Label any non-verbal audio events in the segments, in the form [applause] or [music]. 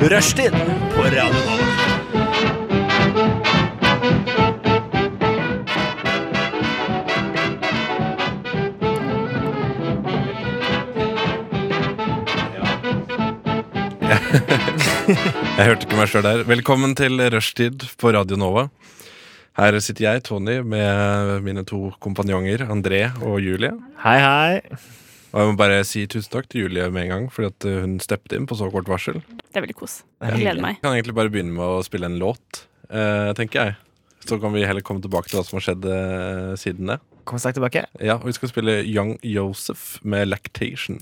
Rushtid på Radio Nova. Jeg hørte ikke meg sjøl der. Velkommen til rushtid på Radio Nova. Her sitter jeg, Tony, med mine to kompanjonger André og Julie. Hei, hei. Og jeg må bare si tusen takk til Julie med en gang, fordi at uh, hun steppet inn på så kort varsel. Det er veldig kos. Jeg gleder meg. Jeg kan egentlig bare begynne med å spille en låt, eh, tenker jeg. Så kan vi heller komme tilbake til hva som har skjedd eh, siden det. Kom sterkt tilbake. Ja, og vi skal spille Young Joseph med Lactation.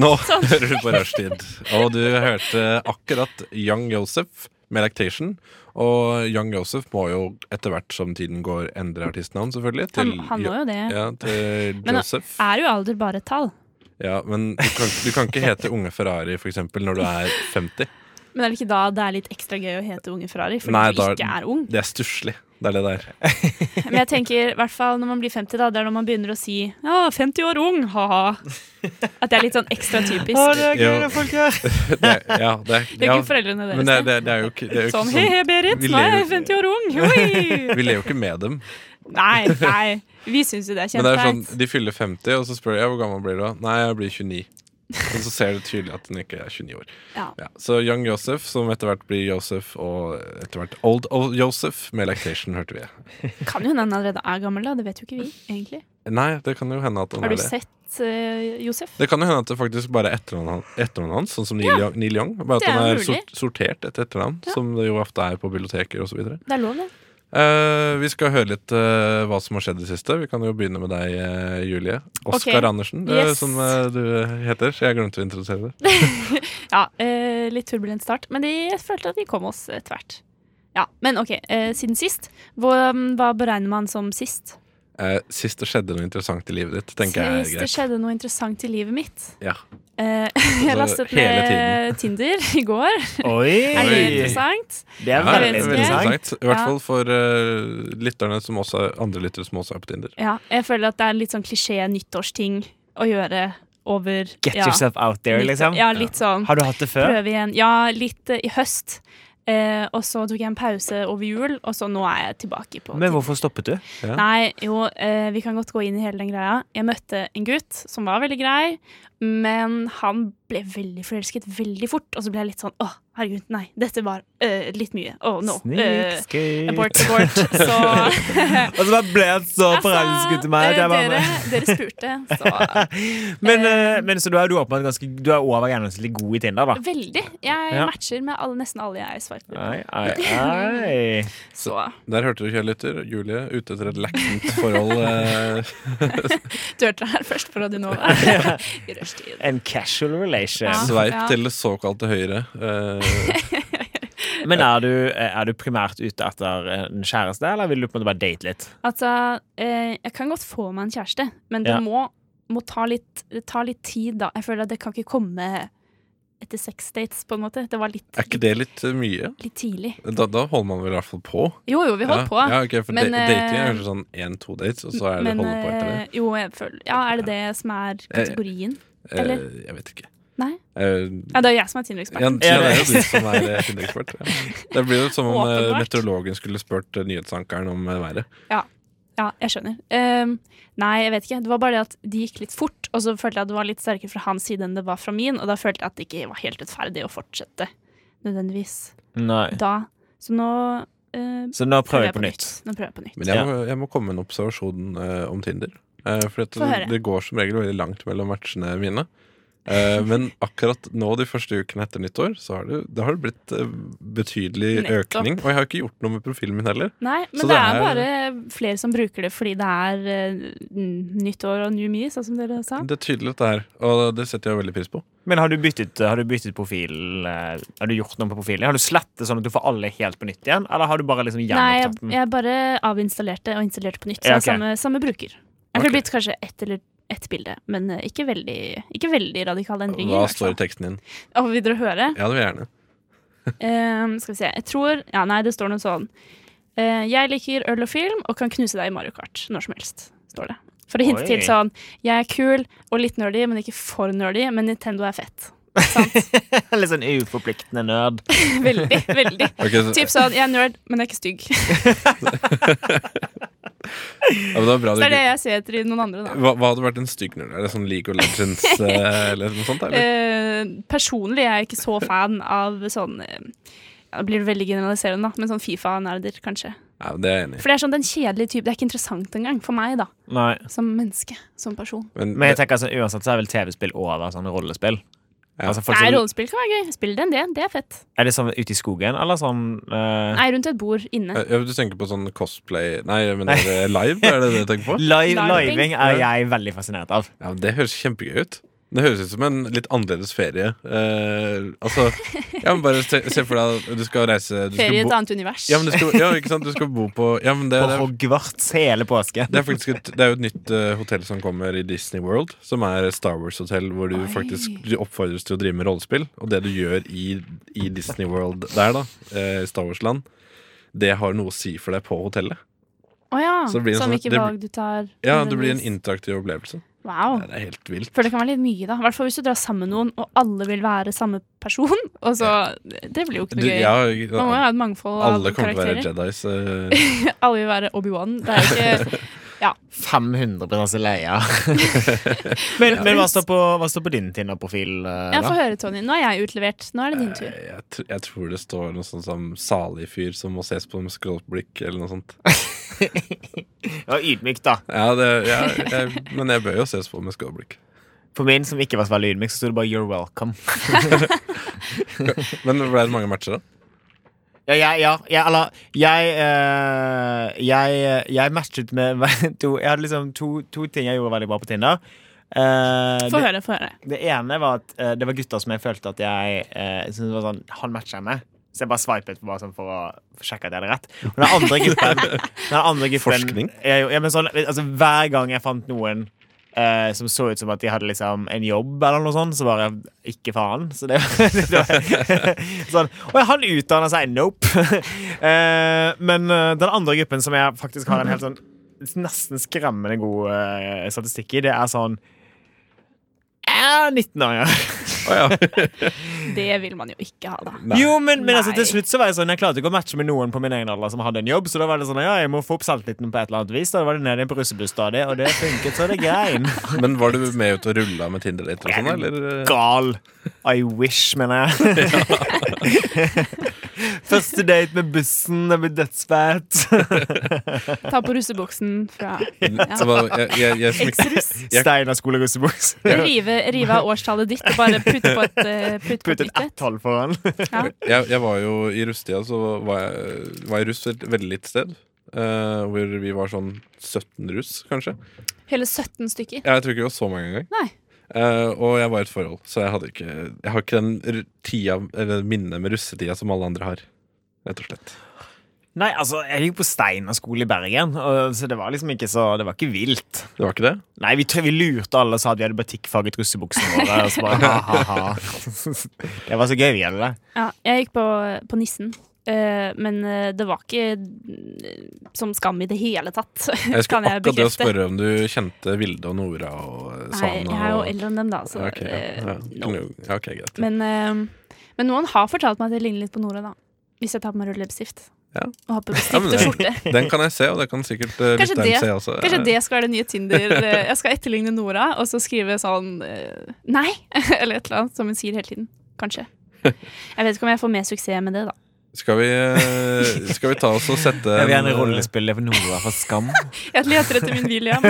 Nå [laughs] Sånn. hører du på rushtid. Og du hørte akkurat Young Joseph med Lactation. Og Young Joseph må jo etter hvert som tiden går, endre artistnavn, selvfølgelig. Han, han må jo det. Ja, til [laughs] Men- uh, Joseph. Er jo alder bare et tall? Ja, men du kan, du kan ikke hete Unge Ferrari, for eksempel, når du er 50. Men er det ikke da det er litt ekstra gøy å hete Unge Ferrari? Fordi Nei, du da- ikke er ung. Det er stusslig. Det er det der. Men jeg tenker, i hvert fall når man blir 50, da, det er når man begynner å si Ja, 50 år ung, ha-ha. At det er litt sånn ekstra typisk. Å, det det er gøy, Jo. det er folk her. Det er, ja, det er, er ja, ikke foreldrene deres. men det er, det, er, det er jo ikke, det er jo ikke sånn he he, Berit, vi nå er jeg lever- 50 år ung. Oi! Vi ler jo ikke med dem. Nei, nei. Vi syns jo det er Men det er sånn, kjempeflaut. De fyller 50, og så spør de ja, hvor gammel blir du da. Nei, jeg blir 29. Og så ser du tydelig at hun ikke er 29 år. Ja. Ja. Så Young Joseph, som etter hvert blir Joseph, og etter hvert Old, old Joseph med lactation, hørte vi. Kan jo hende han allerede er gammel, da. Det vet jo ikke vi, egentlig. Nei, det kan jo hende at han Har Sånn er du det. sett eh, Josef? Det kan jo hende at det faktisk bare er etternavnet han- etternavnet hans, sånn som Neil, Young, Neil Young. Bare at det er han er mulig. sort, sortert etter etternavn, Ja. som det jo ofte er på biblioteker osv. Det er lov, det. Eh, vi skal høre litt eh, hva som har skjedd i det siste. Vi kan jo begynne med deg, eh, Julie. Oskar Ok. Andersen, eh, Yes. som eh, du heter. Så jeg glemte å introdusere deg. Ja, eh, litt turbulent start, men de, jeg følte at vi kom oss eh, tvert. Ja, Men OK, eh, siden sist. Hva, mm, hva beregner man som sist? Eh, sist det skjedde noe interessant i livet ditt, tenker jeg er Sist det greit. skjedde noe interessant i livet mitt. Ja. [laughs] Eh, jeg Altså, lastet hele ned Tinder i går. [laughs] Oi. Er det Oi. interessant? Det er Ja, veldig det er interessant. I hvert Ja. fall for eh, lytterne som også er andre lyttere som også er på Tinder. Ja, jeg føler at det er en litt sånn klisjé nyttårsting å gjøre over Get ja, yourself out there, nyttår- liksom. Ja, litt sånn. Har du hatt det før? Prøve igjen. Ja, litt eh, i høst. Eh, og så tok jeg en pause over jul, og så nå er jeg tilbake på Men hvorfor stoppet du? Ja. Nei, jo, eh, vi kan godt gå inn i hele den greia. Jeg møtte en gutt som var veldig grei, men han ble veldig forelsket veldig fort. Og så ble jeg litt sånn åh, herregud, nei, dette var øh, litt mye. Åh, no. øh, Snikskritt. abort, [laughs] Altså, abort. [laughs] Så Og så bare ble han så forelsket i meg. at eh, jeg bare- dere, dere spurte, [laughs] så Men, eh, men så du er, du, er ganske, du er over gjennomsnittlig god i Tinder, da? veldig. Jeg Ja. matcher med alle, nesten alle jeg sveiper på. Ai, ai, ai. Så Der hørte du, kjære lytter, Julie ute etter et lektent forhold. eh, du hørte det her først på Radio [laughs] Nova. I rushtid. En casual relation. [laughs] Ja. sveip til det såkalte høyre. eh, Men er du, er du primært ute etter en kjæreste, eller vil du på en måte bare date litt? Altså, eh, jeg kan godt få meg en kjæreste, men det Ja. må, må ta, litt, det tar litt tid, da. Jeg føler at det kan ikke komme etter sex dates, på en måte. Det var litt, er ikke det litt eh, mye? litt tidlig. Da, da holder man vel i hvert fall på? Jo, jo, vi holdt ja. på. Ja, ok, for Men, da- dating er eh, kanskje sånn én-to dates, og så er det men holde på etter det. eh, jo, jeg føler Ja, er det det som er kategorien? Eh, eller? jeg vet ikke. Nei? Eh, Ja, det er jeg som er ja, Tinder-eksperten. det er jo du som er eh, Tinder-ekspert. Ja. Det blir jo som om eh, Åpenbart. meteorologen skulle spurt eh, nyhetsankeren om eh, været. Ja, jeg skjønner. Ehm, nei, jeg vet ikke. Det var bare det at de gikk litt fort, og så følte jeg at det var litt sterkere fra hans side enn det var fra min, og da følte jeg at det ikke var helt rettferdig å fortsette nødvendigvis Nei. da. Så nå eh, Så nå prøver vi på nytt. Nå prøver jeg på nytt. Men jeg må, jeg må komme med en observasjon eh, om Tinder. Eh, for at Få det, høre. det går som regel veldig langt mellom matchene mine. Eh, men akkurat nå de første ukene etter nyttår, så har det, det har blitt eh, betydelig Nettopp. økning. Og jeg har ikke gjort noe med profilen min heller. Nei, men Så det, det er er- bare flere som bruker det fordi det er eh, n- nytt år og new me, sånn som dere sa. Det er tydelig at det er, og det setter jeg veldig pris på. Men har du byttet, har du byttet profil? eh, Har du gjort noe på profilen? Har du slettet sånn at du får alle helt på nytt igjen? Eller har du bare liksom Nei, jeg, gjenopptatt den? jeg bare avinstallerte og installerte på nytt. Så Ja, det er ok. samme, samme bruker. Jeg Ok. kunne blitt kanskje ett eller ett bilde, men eh, ikke veldig, ikke veldig radikale endringer. Hva i hvert står i fall. teksten din? Å, vil dere høre? Ja, det vil jeg gjerne. Ehm, skal vi se. Jeg tror Ja, nei, det står noe sånn. Eh, jeg liker øl og film og kan knuse deg i Mario Kart når som helst, står det. For å hinte Oi. til sånn Jeg er kul og litt nerdy, men ikke for nerdy, men Nintendo er fett. [laughs] Litt sånn uforpliktende nerd. [laughs] Veldig. veldig Ok, så, Typ sånn, jeg er nerd, men jeg er ikke stygg. ja, men det var bra du Det er det ikke jeg ser etter i noen andre. da hva, hva hadde vært en stygg nerd? Er det sånn League of Legends eh, eller noe sånt? Eller? Eh, personlig er jeg ikke så fan av sånn eh, ja, Det blir det veldig generaliserende, da, men sånn Fifa-nerder, kanskje. Ja, det er jeg enig i. For det er sånn den kjedelige type. Det er ikke interessant engang for meg, da. Nei. Som menneske. Som person. Men, Men jeg tenker altså, uansett så er vel TV-spill over sånn rollespill. Ja. Altså, folk Nei, som, rollespill kan være gøy. Spill den, det. Det er fett. er det sånn ute i skogen, eller sånn eh, Nei, rundt et bord inne. Ja, du tenker på sånn cosplay Nei, men er det live? Er det det du tenker på? [laughs] Live, Living. living er jeg veldig fascinert av. Ja, men Det høres kjempegøy ut. Det høres ut som en litt annerledes ferie. Eh, altså, ja, men bare se, se for deg at du skal reise du skal Ferie i et bo, annet univers. ja, men du skal, ja, ikke sant? Du skal bo på ja, men det, På det, er- Hogwarts hele påsken. det er faktisk et, det er jo et nytt eh, hotell som kommer i Disney World, som er et Star Wars-hotell hvor du Oi. faktisk du oppfordres til å drive med rollespill. Og det du gjør i, i Disney World der, da, eh, i Star Wars-land, det har noe å si for deg på hotellet. Å ja. Så det blir en Sånn sånn- hvilke det blir- valg du tar. Ja, Det blir en nødvendigvis. interaktiv opplevelse. Wow. Det er helt vilt. For det kan være litt mye, da. I hvert fall hvis du drar sammen med noen, og alle vil være samme person. Og så, Det blir jo Du, ikke noe gøy. ja, Man må jo ha et mangfold av alle kommer til å karakterer. være Jedis. eh, [laughs] Alle vil være Obi-Wan. Det er jo ikke [laughs] 500 leia. men men hva, står på, hva står på din Tinder-profil? eh, Jeg da? får høre, Tony. Nå er jeg utlevert. Nå er det din tur. Eh, Jeg, tr jeg tror det står noe sånt som 'salig fyr som må ses på med skråblikk', eller noe sånt. Ja, ydmyk, da. Ja, det, ja, jeg, men jeg bør jo ses på med skråblikk. For min, som ikke var så veldig ydmyk, så sto det bare 'you're welcome'. Men ble det mange matcher, da? Ja, jeg, ja, jeg, eller jeg, eh, jeg, jeg matchet med [laughs] to Jeg hadde liksom to, to ting jeg gjorde veldig bra på Tinder. Eh, Få det, høre. få høre det ene var at eh, det var gutter som jeg følte at jeg eh, syntes var sånn Han matcher jeg med. Så jeg bare swipet bare sånn for å sjekke at jeg hadde rett. Og den andre gruppen, den andre gruppen Forskning? Jeg, ja, men sånn, altså, hver gang jeg fant noen eh, som så ut som at de hadde liksom en jobb, eller noe sånt, så bare ikke faen. Så det, det var [laughs] sånn Å ja, han utdanner seg! Nope. [laughs] Eh, men eh, den andre gruppen som jeg faktisk har en helt sånn nesten skremmende god eh, statistikk i, det er sånn eh, 19-åringer. Å ja. Det vil man jo ikke ha, da. Nei. Jo, men, men altså, til Nei. slutt så var jeg sånn Jeg klarte ikke å matche med noen på min egen alder som hadde en jobb, så da var det sånn ja, jeg må få opp selvtilliten på et eller annet vis. Da var det ned igjen på russebuss, da, det, og det funket, så det grein. Men var du med ut og rulla med Tinder-dater og sånn, eller? [laughs] Gal. I wish, mener jeg. [laughs] Første date med bussen, det blir dødsfett. [laughs] Ta på russebuksen [laughs] fra Mm, Så var, jeg, jeg, jeg, smyk, Eksruss. Steinar skole [laughs] russebuss. Rive, rive av årstallet ditt og bare putte på et eh, putte på Putt et et nytt et. ett-tall foran. [laughs] jeg, jeg var jo i russetida, så var jeg, var jeg russ et veldig lite sted. eh, hvor vi var sånn 17 russ, kanskje. Hele 17 stykker. Ja, Jeg tror ikke det var så mange engang. Nei. Eh, og jeg var i et forhold, så jeg, hadde ikke, jeg har ikke den ru- tida, eller minnet med russetida som alle andre har. Rett og slett. Nei, altså, jeg gikk på Steinar skole i Bergen, og, så det var liksom ikke så Det var ikke vilt. Det var ikke det? Nei, vi, tr- vi lurte alle og sa at vi hadde batikkfarget russebuksene våre. Og så bare, [laughs] ha, ha, ha. [laughs] Det var så gøy, vi hadde det. Ja, jeg gikk på, på nissen. eh, men eh, det var ikke eh, som skam i det hele tatt. Jeg Kan skulle jeg akkurat det å bekrefte? spørre om du kjente Vilde og Nora og eh, Nei, Sana. jeg er jo og- eldre enn dem, da. Så, Ja, ok, ja, eh, ja. no. Kunne jo- ja, ok, greit. men, eh, men noen har fortalt meg at jeg ligner litt på Nora, da. Hvis jeg tar på meg rød leppestift. Ja. Og har [laughs] på Ja, men stift og det- skjorte. Den kan jeg se, og det kan sikkert uh, Kanskje lytteren det- se også. Kanskje det skal være det nye Tinder. [laughs] eh, Jeg skal etterligne Nora, og så skrive sånn eh, Nei! [laughs] Eller et eller annet, som hun sier hele tiden. Kanskje. Jeg vet ikke om jeg får mer suksess med det, da. Skal vi, eh, skal vi ta oss og sette Jeg vil Um, gjerne en- eh, rollespille for Nora fra Skam. Jeg leter etter min [laughs] William.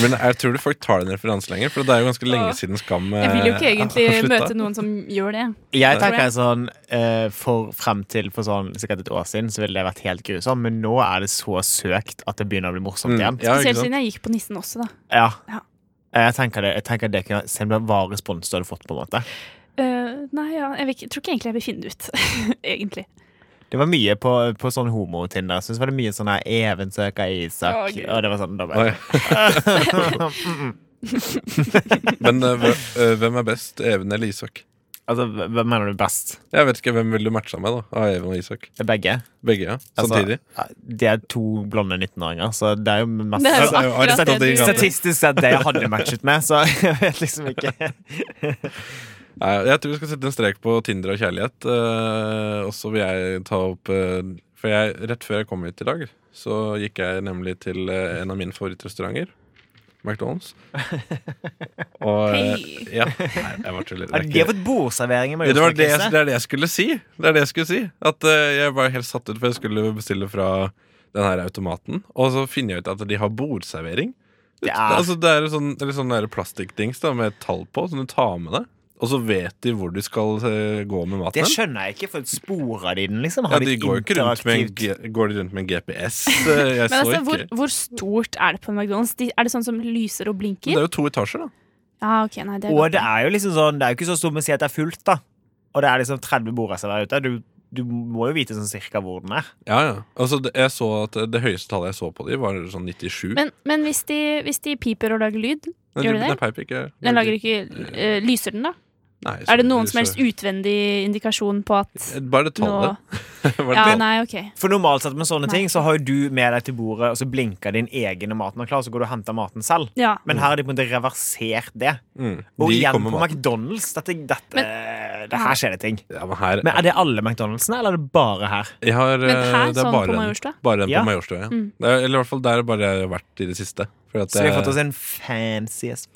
Men jeg tror du folk tar den referansen lenger, for det er jo ganske lenge Åh. siden Skam Jeg vil jo eh, ikke egentlig har sluttet. møte noen som gjør det. [laughs] Jeg tenker sånn, eh, for frem til for sånn, sikkert et år siden så ville det vært helt grusomt, men nå er det så søkt at det begynner å bli morsomt Mm, igjen. ja, ikke Spesielt sant? siden jeg gikk på nissen også, da. Ja. Ja. Eh, Jeg tenker det, jeg tenker det kunne, Se om det var respons du hadde fått. på en måte Eh, nei, ja, jeg, vil ikke, tror ikke egentlig jeg vil finne det ut. [laughs] egentlig. Det var mye på, på sånn homo-Tinder. Jeg synes det var mye sånn her Even søker Å, Isak. Gud. og det var sånn, da Oi. bare, [laughs] Mm, mm. Men eh, hve- eh, hvem er best, Even eller Isak? Altså, hv- Hvem mener du best? Jeg vet ikke, Hvem vil du matche med, da? Av Even og Isak? Begge? Begge, ja. Altså, Samtidig. De er to blonde 19-åringer, så det er jo mest Det er Altså, det er jo jo akkurat Aristoteles i det du gata. Statistisk sett det jeg hadde matchet med, så [laughs] jeg vet liksom ikke. Nei, jeg tror vi skal sette en strek på Tinder og kjærlighet. eh, og så vil jeg ta opp eh, For jeg, rett før jeg kom hit i dag, så gikk jeg nemlig til eh, en av mine favorittrestauranter. McDonald's. [laughs] Og eh, Hei. Ja. Nei, jeg bare tuller. Det er De ikke- har fått bordservering i Ja, det, var det, Majorstua-krysset. det er det jeg skulle si. Det er det jeg skulle si At eh, Jeg var helt satt ut, for jeg skulle bestille fra den her automaten. Og så finner jeg ut at de har bordservering. Det, Ah. Ja. altså, det er en sånn, eller sånn der plastikkdings da, med et tall på, som du tar med deg. Og så vet de hvor de skal eh, gå med Det maten. skjønner jeg ikke, for et spor av de den, liksom. ja, Har de går jo ikke rundt med en, interaktivt- G- går de rundt med en GPS. [laughs] eh, Jeg så Men altså, hvor, ikke. hvor stort er det på en McDonald's? De, er det sånn som lyser og Men det blinker? er jo to etasjer, da. Ja, ok, nei, det er Og godt. det er jo liksom sånn, det er jo ikke så stort, men si at det er fullt, da. Og det er liksom 30 bordreservert ute. Du, du må jo vite sånn cirka hvor den er. Ja, ja. Altså, det, jeg så at det høyeste tallet jeg så på de, var sånn 97. Men, men hvis, de, hvis de piper og lager lyd, Nei, gjør de- de det? nei, peip ikke. den lager ikke, eh, lyser den da? Nei, så- Er det noen så- som helst utvendig indikasjon på at Bare det nå [laughs] tallet. Bare Ja, tallet. nei, ok. For normalt sett med sånne Nei. ting, så har jo du med deg til bordet, og så blinker din egen når maten er klar, så går du og henter maten selv. Ja. Men her har de på en måte reversert det. Mm. Og De igjen kommer på med- McDonald's. Dette, dette, det her skjer det ting. Ja, men her, Men er det alle McDonaldsene, eller er det bare her? jeg har, eh, Men her, det er sånn bare på den- Majorstua? Bare den Ja. på Majorstua, ja. Mm. Det er, eller i hvert fall der bare jeg har vært i det siste. For at Så vi har jeg- fått oss en fancy ass-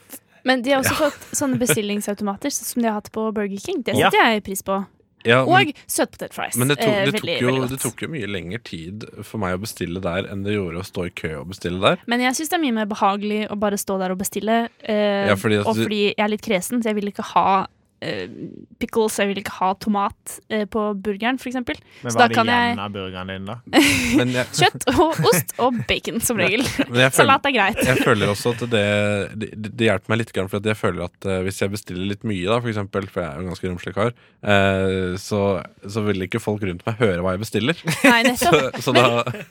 Men de har også fått sånne bestillingsautomater sånn som de har hatt på Burger King. Det Ja. setter jeg pris på. ja, men, Og søtpotet fries. men det, tok, Eh, det, tok veldig, jo, veldig det godt. tok jo mye lengre tid for meg å bestille der enn det gjorde å stå i kø og bestille der. Men jeg syns det er mye mer behagelig å bare stå der og bestille. eh, Ja, fordi at og du- fordi jeg er litt kresen, så jeg vil ikke ha eh, pickles, jeg vil ikke ha tomat eh, på burgeren, for eksempel. Men hva Så da er det kan igjen jeg- av burgeren din, da? Men jeg, Kjøtt [laughs] og ost og bacon, som regel. men jeg, føler, Salat er greit. jeg føler også at det, det, det hjelper meg litt, grann, for at jeg føler at eh, hvis jeg bestiller litt mye, da, for eksempel, for jeg er jo en ganske romslig kar, eh, så, så vil ikke folk rundt meg høre hva jeg bestiller. Nei, nettopp. [laughs] Så da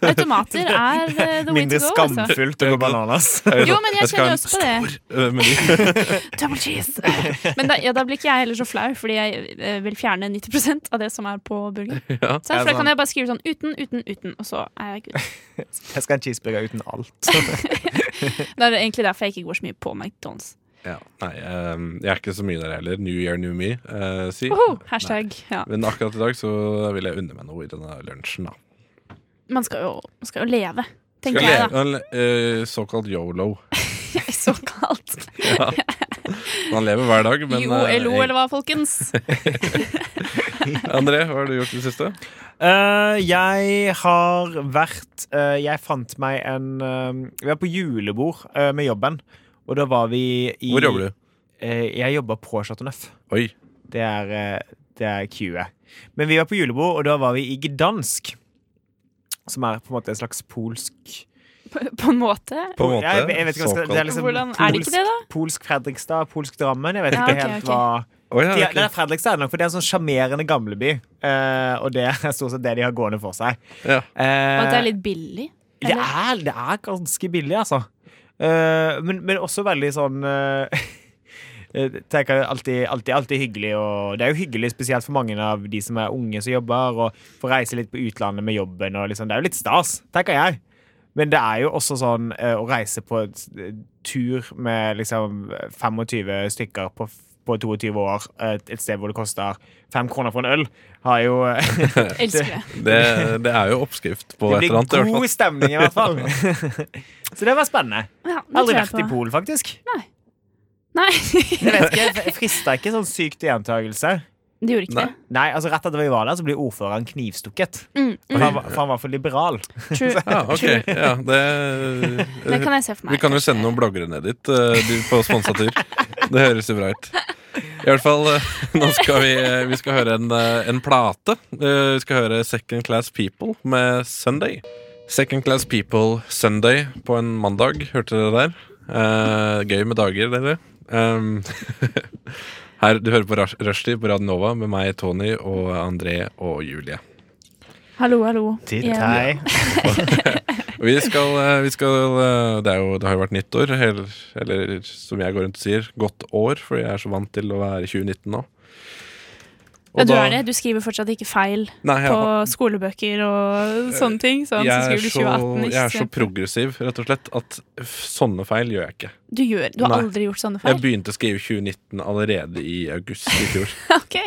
Automater er eh, the way Mindre to go. Altså. skamfullt å gå bananas. Jo, men jeg skal ha kjenner en også på det. stor, eh, meny. Double cheese! [laughs] Men da, ja, da blir ikke jeg heller så flau, fordi jeg eh, vil fjerne 90 av det som er på burger. [laughs] Ja. Sant? Ja, for da sant. kan jeg bare skrive sånn uten, uten, uten, og så er jeg good. [laughs] Jeg skal ha en cheeseburger uten alt. Det er egentlig derfor jeg ikke går så mye på McDonald's. Ja, nei, ehm, jeg er ikke så mye der heller. New year, new me, eh, si. Woho! hashtag. Ja. Men akkurat i dag så vil jeg unne meg noe i denne lunsjen, da. Man skal jo, man skal jo leve, tenker Skal jeg, da. leve en eh, såkalt yolo. [laughs] Såkalt. Ja. Man lever hver dag, [laughs] men Jo, eh, LO, eller hva, folkens? André, hva har du gjort i det siste? Eh, jeg har vært eh, Jeg fant meg en eh, Vi var på julebord eh, med jobben, og da var vi i Eh, Hvor jobber du? jeg jobba på Chateau Neuf. Oi. Det er, eh, det er Q-et. Men vi var på julebord, og da var vi i Gdansk. Som er på en måte en slags polsk På, [laughs] på en måte. På en måte. Jeg, jeg vet ikke hva jeg skal- det er såkalt. liksom Hvordan, er det polsk- ikke det, da? Polsk Fredrikstad, polsk Drammen. Jeg vet Ja, ikke ok, helt ok. hva Å, ja, de, ok. det er Fredrikstad er det nok, for det er en sånn sjarmerende gamleby. eh, og det er stort sett det de har gående for seg. Ja. Og at det er Eh, litt billig? det, eller? er, det er ganske billig, altså. Eh, men, men også veldig sånn eh, [laughs] jeg tenker alltid, alltid, alltid hyggelig og Det er jo hyggelig spesielt for mange av de som er unge som jobber, og får reise litt på utlandet med jobben. Og liksom, det er jo litt stas, tenker jeg. Men det er jo også sånn eh, å reise på et, eh, tur med liksom 25 stykker på, f- på 22 år, et, et sted hvor det koster fem kroner for en øl, har jo [laughs] Elsker det. Det, det er jo oppskrift på Det et eller blir annet. i hvert fall. god stemning, i hvert fall. [laughs] Så det var spennende. Ja, det Aldri tror jeg vært i på. Polen, faktisk. Nei, [laughs] Jeg vet ikke, jeg frister ikke sånn syk til gjentagelse. det gjorde ikke Nei. det. Nei, altså Rett etter vi var der, så blir ordføreren knivstukket. Mm, For mm, han, var- for han var for liberal. true. Ja, ok. Ja, det, Det kan jeg se for meg. Vi kan jo sende noen bloggere ned dit eh, de på sponsa tur. Det høres jo bra ut. I hvert fall, eh, [laughs] nå skal vi, eh, vi skal høre en, eh, en plate. Eh, Vi skal høre Second Class People med Sunday. Second Class People Sunday på en mandag, hørte dere der? Eh, gøy med dager, dere. Um, [laughs] her, Du hører på Rush- Rushdie på Radio Nova med meg, Tony, og André og Julie. Hallo, hallo. Titt Igjen. hei. Vi skal, eh, vi skal eh, det, er jo, det har jo vært nyttår, eller, eller som jeg går rundt og sier, godt år, for jeg er så vant til å være i 2019 nå. Ja, du er det. Du skriver fortsatt ikke feil Nei, jeg, på skolebøker og sånne ting. Sånn, så jeg, er skriver du så, 2018 jeg er så istedenfor- progressiv, rett og slett, at f- sånne feil gjør jeg ikke. Du, gjør, du har Nei. aldri gjort sånne Jeg feil? begynte å skrive 2019 allerede i august i fjor. [laughs] Ok.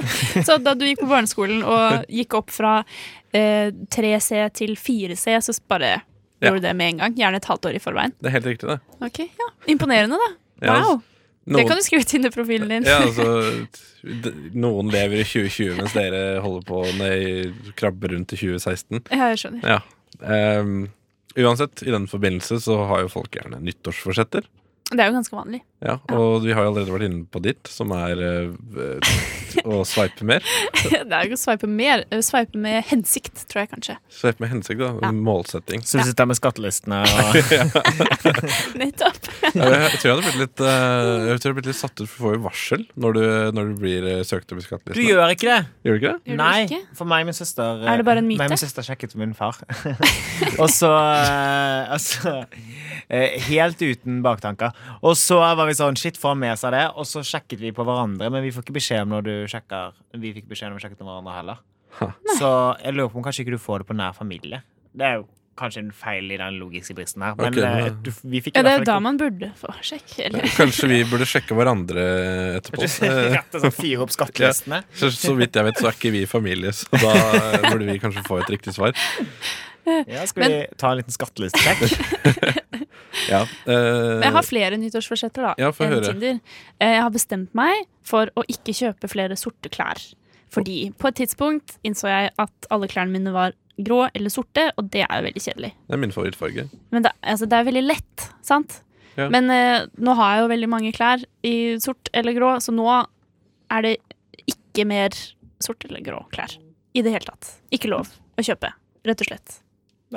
Så da du gikk på barneskolen og gikk opp fra eh, 3C til 4C, så bare Ja. gjorde du det med en gang? Gjerne et halvt år i forveien. Det er helt riktig, det. Ok, ja. Imponerende, da. Ja, altså, Wow! Det noen- kan du skrive til Tinder-profilen din. [laughs] ja, altså, d- noen lever i 2020 mens dere holder på Nei, krabber rundt i 2016. Ja, jeg skjønner. Ja. Ehm, uansett, i den forbindelse så har jo folk gjerne nyttårsforsetter. Det er jo ganske vanlig. Ja, og vi har jo allerede vært inne på ditt, som er eh, å sveipe mer. [laughs] Det er jo å sveipe mer. eh, Sveipe med hensikt, tror jeg kanskje. Sveipe med hensikt, da. Ja. Målsetting. Så du sitter med skattelistene og Nettopp. Ja, Jeg tror jeg hadde blitt litt, eh, jeg tror jeg hadde blitt litt satt ut, for du får jo varsel når du, når du blir eh, søkt opp i Du skattelisten. gjør ikke det? Gjør du ikke det? Gjør du Nei, ikke? for meg og min søster eh, Er det bare en myte? Meg og min søster sjekket min far. [laughs] og så eh, Altså eh, Helt uten baktanker. Og så var vi sånn Shit, får han med seg det? Og så sjekket vi på hverandre, men vi får ikke beskjed om når du sjekker Vi fikk beskjed om vi sjekket om hverandre heller. Ha. Så jeg lurer på om kanskje ikke du får det på nær familie. Det er jo kanskje en feil i den logiske bristen her, men Ok, eh, men- du, vi fikk Ja, i det er hvert jo da fall man burde få sjekk. Eller? Kanskje vi burde sjekke hverandre etterpå. Eh, ikke [laughs] Rett og slett fire opp skattelistene. Så, så vidt jeg vet, så er ikke vi familie, så da eh, burde vi kanskje få et riktig svar. Ja, skal vi ta en liten skattelistesjekk? Ja, eh, Men Jeg har flere nyttårsforsetter da Ja, få enn høre. Tinder. Eh, Jeg har bestemt meg for å ikke kjøpe flere sorte klær. Fordi på et tidspunkt innså jeg at alle klærne mine var grå eller sorte, og det er jo veldig kjedelig. det er min favorittfarge. Men det, altså, det er veldig lett, sant? Ja. Men eh, nå har jeg jo veldig mange klær i sort eller grå, så nå er det ikke mer sort eller grå klær. I det hele tatt. Ikke lov å kjøpe, rett og slett.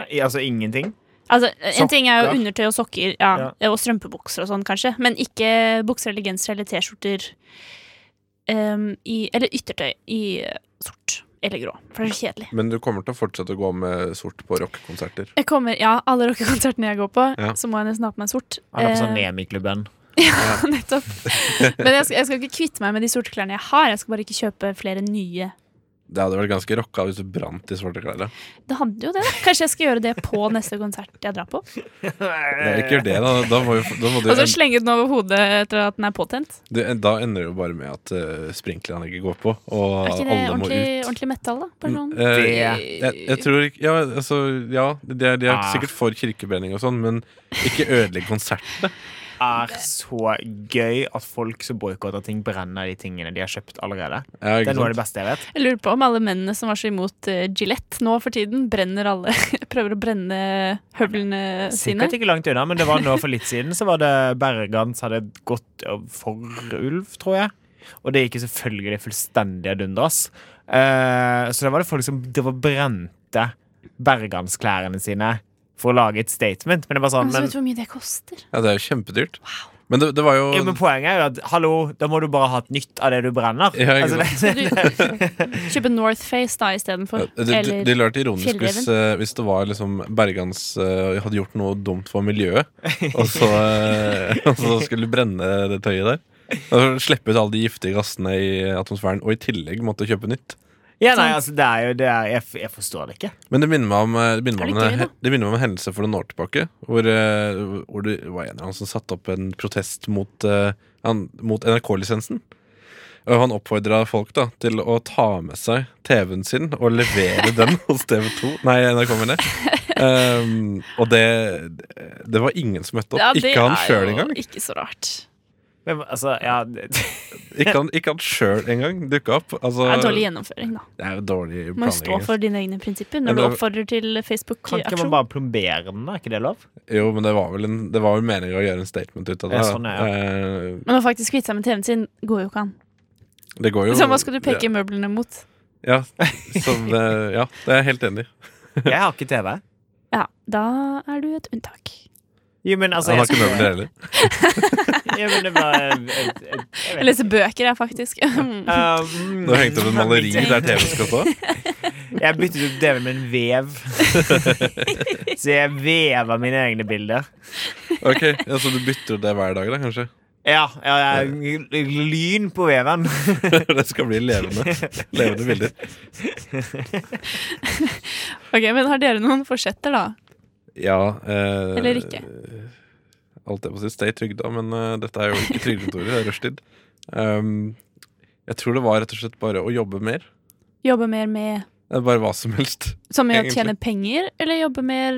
Nei, altså ingenting? Altså, En ting er jo Sokker. undertøy og sokker ja, og strømpebukser og sånn, kanskje. Men ikke bukser eller genser eller T-skjorter em, i- eller yttertøy i eh, sort eller grå. For det er så kjedelig. Men du kommer til å fortsette å gå med sort på rockekonserter. Jeg kommer, ja, Alle rockekonsertene jeg går på, Ja. så må jeg nesten ha på meg sort. Han er på sånn Eh, Nemi-klubben. [laughs] nettopp. Men jeg skal, jeg skal ikke kvitte meg med de sorte klærne jeg har. Jeg skal bare ikke kjøpe flere nye. Det hadde vært ganske rocka hvis du brant de svarte klærne. Det handler jo det, da. Kanskje jeg skal gjøre det på neste konsert jeg drar på. Eh. Nei, Ikke gjør det, da. Da, må jo, da, må du, [laughs] Og så slenge den over hodet etter at den er påtent. du, da ender det jo bare med at uh, sprinkleranlegget går på, og Er ikke det alle må ordentlig, ut. ordentlig metal, da? Bare sånn. Eh, Det- jeg, jeg tror ikke Ja, altså, ja de er, de er Ah. sikkert for kirkebrenning og sånn, men ikke ødelegg konsertene. er så gøy at folk som boikotter ting, brenner de tingene de har kjøpt allerede. Ja, Det ikke er noe av det sant? beste jeg vet. Jeg lurer på om alle mennene som var så imot eh, Gillette nå for tiden, brenner alle [laughs] Prøver å brenne høvlene sine. Sikkert ikke langt unna, men det var nå for litt siden så var det Bergans hadde gått for ulv, tror jeg. Og det gikk jo selvfølgelig fullstendig ad undas. Eh, så da var det folk som drev og brente Bergansklærne sine for å lage et statement. Men det var sånn, Men så men, Altså, vet du hvor mye det koster? Ja, det er jo kjempedyrt. Men det, det var jo jo, men poenget er jo at hallo, da må du bare ha et nytt av det du brenner. Ja, ikke altså, det, Skal du [laughs] kjøpe Northface da istedenfor? Ja, Det, det, det Eller ville vært ironisk hvis, Fjellreven. eh, hvis det var liksom Bergans eh, hadde gjort noe dumt for miljøet, og så, eh, [laughs] og så skulle brenne det tøyet der. Og Slippe ut alle de giftige gassene i atmosfæren, og i tillegg måtte kjøpe nytt. [laughs] ja, nei, altså, det er jo det er, jeg, jeg forstår det ikke. Men det minner meg om, eh, det minner Er meg det om, gøy, en, da? he- det minner meg om en hendelse for noen år tilbake, hvor, eh, hvor det var en eller annen som satte opp en protest mot, eh, han- mot NRK-lisensen. Og han oppfordra folk da til å ta med seg TV-en sin og levere den [laughs] hos TV2. Nei, NRK, mener [laughs] jeg. Um, og det Det var ingen som møtte opp. Ja, det ikke han er sjøl jo engang. Ikke så rart. Men, altså, ja, [laughs] det, Ikke han, ikke han sjøl engang dukka opp. Altså, Det er dårlig gjennomføring, da. det er jo dårlig Må jo stå planlegging. altså. for dine egne prinsipper Ja, når du det- oppfordrer til Kan ikke man Facebook-aksjon. bare plombere den, da? Er ikke det lov? Jo, men det var vel, en- det var vel meninga å gjøre en statement ut av det. Ja, da. sånn er, Eh, Men å faktisk kvitte seg med TV-en sin går jo ikke an. det går jo Så hva skal du ja. peke møblene mot? Ja, som, eh, ja, det er jeg helt enig i. Jeg har ikke TV. Ja, da er du et unntak. Jo, men altså Han har jeg, ikke møbler heller. jo, men det var jeg- jeg- jeg Jeg vet ikke. leser bøker, jeg, faktisk. [laughs] Um, Du har hengt opp et maleri Jeg der TV skal stå. jeg byttet ut TV med en [laughs] vev. Så jeg vever mine egne bilder. Ok, ja, Så du bytter ut det hver dag, da, kanskje? [laughs] Ja, ja, ja lyn på veven. det skal bli levende, levende bilder. Ok, men Har dere noen forsetter, da? Ja eh, Eller ikke. Alt jeg på å si, stay trygda, men eh, dette er jo ikke trygdekontoret, det er rushtid. Um, jeg tror det var rett og slett bare å jobbe mer. Jobbe mer med Eh, Bare hva som helst. Som med å Egentlig. tjene penger, eller jobbe mer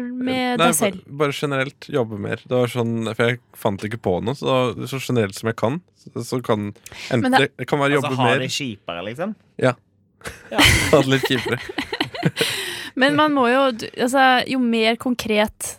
Nei, med deg selv? Bare, bare generelt jobbe mer. Det var sånn, for jeg fant ikke på noe, så, da- så generelt som jeg kan. Så, så kan enten, Men det, det- kan være jobbe Altså ha mer, det kjipere, liksom. [laughs] ha det litt kjipere. Men man må jo du- altså, Jo mer konkret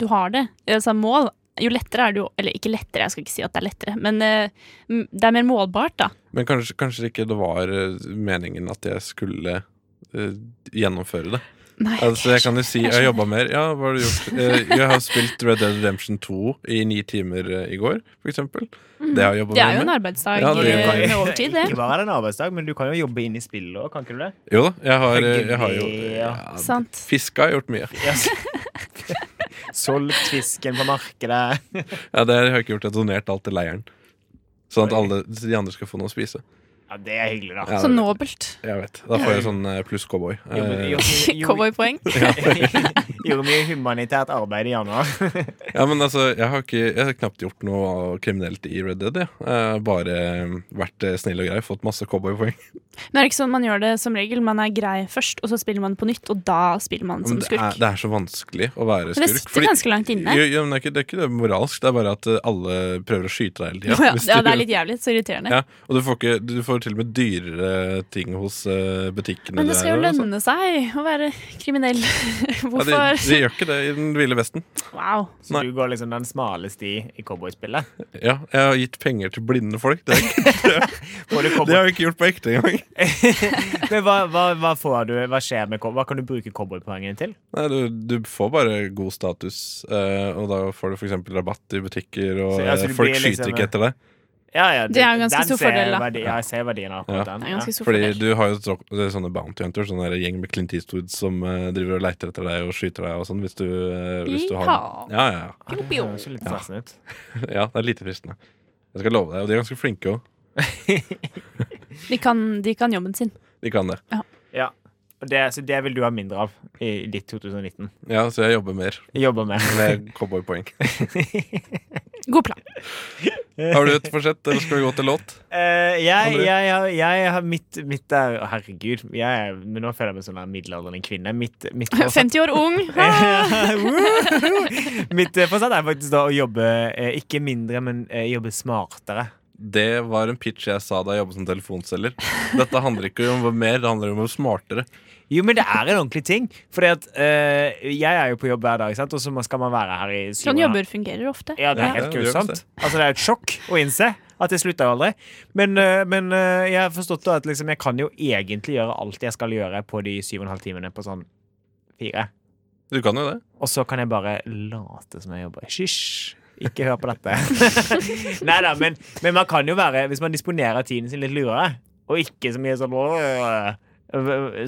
du har det, altså mål, jo lettere er det jo Eller ikke lettere, jeg skal ikke si at det er lettere, men eh, m- det er mer målbart, da. Men kanskje, kanskje ikke det var eh, meningen at jeg skulle eh, gjennomføre det. Nei, Altså, jeg kan jo si jeg jeg har skjønner. jobba mer. Ja, hva har du gjort? Eh, jeg har spilt Red Dead Redemption 2 i ni timer eh, i går, for eksempel. Det har jeg jobba Mhm. Det er jo en med. arbeidsdag Ja, ja, det- med overtid, Ikke [laughs] det. bare er det en arbeidsdag, men du kan jo jobbe inn i spillet òg, kan ikke du det? Jo da, jeg har, eh, jeg har jo Ja. ja, Sant. Fiska har gjort mye. Yes. Solgt fisken på markedet. Ja, det har jeg ikke gjort. Jeg har donert alt til leiren. Sånn at alle så de andre skal få noe å spise. Ja, det er hyggelig, da. Ja, Så nobelt. Jeg vet. Da får jeg sånn eh, pluss cowboy. Jobbe- Eh, jobbe- jobbe- [laughs] Cowboypoeng. [laughs] Gjorde mye humanitært arbeid i januar. Ja, men altså, jeg har, ikke, jeg har knapt gjort noe kriminelt i Red Dead. jeg. Eh, bare eh, vært eh, snill og grei, fått masse cowboypoeng. Men det er ikke sånn man gjør det som regel. Man er grei først, og så spiller man på nytt, og da spiller man Men som det, er- skurk. det er så vanskelig å være Men det skurk. sitter ganske langt inne. Jo, jo, men det, er ikke, det er ikke det moralsk, det er bare at eh, alle prøver å skyte deg hele tida. [laughs] Ja, ja, det er litt jævlig. Så irriterende. ja, og du får, ikke, du får til og med dyrere ting hos eh, butikkene. Men det du skal jo er i, altså. lønne seg å være kriminell. Ja, de, Hvorfor? de gjør ikke det i den ville vesten. Wow. Nei. Så du går liksom den smale sti i cowboyspillet. Ja, jeg har gitt penger til blinde folk. Det, [laughs] er, ikke- Får du det cowboy- har jeg ikke gjort på ekte engang. Men hva, hva, hva får du? Hva skjer med cowboy? Hva kan du bruke cowboypoengene til? Nei, du, du får bare god status, eh, og da får du f.eks. rabatt i butikker, og Så, altså, eh, du folk blir skyter liksom- ikke etter deg. Ja, ja, Det er jo en ganske den stor ser fordel, da. Verdi, ja, jeg ser verdien av Ja. akkurat den. Det er Ja. ganske stor Fordi fordel. du har jo tro- det er sånne bounty hunters, sånn der gjeng med Clint Eastwood som eh, driver og leiter etter deg og skyter deg og sånn, hvis du, eh, hvis du har Yeehaw. Ja, ja, ja. Ja, Det høres jo litt stressende ut. Ja, det er lite fristende. Jeg skal love deg, og de er ganske flinke òg. De kan, de kan jobben sin. De kan det. Ja. Og det, så det vil du ha mindre av i ditt 2019. Ja, så jeg jobber mer Jeg Jobber med. [laughs] med [laughs] cowboypoeng. God plan. Har du et forsett, eller skal vi gå til låt? Eh, jeg, André? jeg, har- jeg har mitt, mitt der Å, herregud. Jeg, er- men nå føler jeg meg som en middelaldrende kvinne. Mitt, [laughs] mitt forsett 50 år ung. [laughs] Mitt eh, forsett er faktisk da å jobbe eh, ikke mindre, men eh, jobbe smartere. Det var en pitch jeg sa da jeg jobbet som telefonselger. Dette handler ikke om mer, det handler om å være smartere. Jo, men det er en ordentlig ting. Fordi at eh, jeg er jo på jobb hver dag, sant? og så skal man være her i syv Sånn måneder. jobber fungerer ofte. Ja, det Ja, er helt det gjør grusomt. det. Altså, det er et sjokk å innse at jeg slutter aldri. Men, eh, men eh, jeg har forstått da at liksom, jeg kan jo egentlig gjøre alt jeg skal gjøre på de syv og en halv timene på sånn fire. Du kan jo det. Og så kan jeg bare late som jeg jobber. Hysj! Ikke hør på [laughs] dette. Nei da, men, men man kan jo være Hvis man disponerer tiden sin litt lurere, og ikke så mye sånn «Åh»,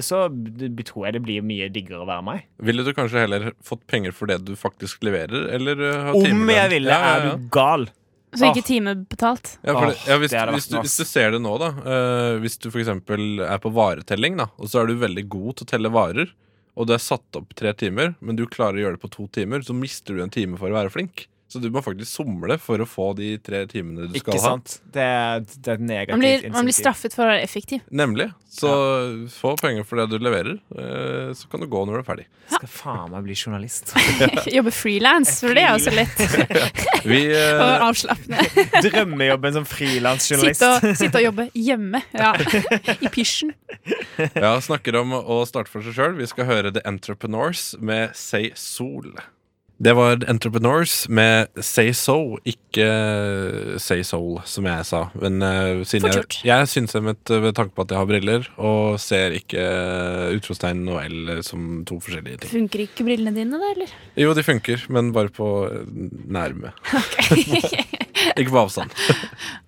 Så b- tror jeg det blir mye diggere å være meg. Ville du kanskje heller fått penger for det du faktisk leverer? Eller uh, ha Om timelønn? jeg ville, Ja, ja, ja. er du gal? Så ikke timebetalt. Ja, for det, ja, Åh, Ah. hvis, det hadde vært hvis, du, noe, hvis ass. du ser det nå, da eh, Hvis du f.eks. er på varetelling, da og så er du veldig god til å telle varer, og du er satt opp tre timer, men du klarer å gjøre det på to timer, så mister du en time for å være flink. Så du må faktisk somle for å få de tre timene du Ikke skal ha. sant? Det er, det er et negativt Man blir, man blir insentiv. straffet for å være effektiv. Nemlig. Så få penger for det du leverer, eh, så kan du gå når du er ferdig. Skal faen meg bli journalist. [laughs] [laughs] Jobbe frilans, for det er jo så lett Vi, eh, og avslappende. Drømmejobben som frilansjournalist. Sitte og, sitte og jobbe hjemme. [laughs] Ja. I pysjen. ja, snakker om å starte for seg sjøl. Vi skal høre The Entrepreneurs med Say Sol. Det var The Entrepreneurs med Say So, ikke Say Soul, som jeg sa. Men eh, siden Fort jeg, gjort. jeg syns jeg eh, med, ved tanke på at jeg har briller, og ser ikke eh, utropstegn og L som to forskjellige ting. Funker ikke brillene dine, [laughs] da, eller? Jo, de funker, men bare på eh, nærme. ikke på avstand.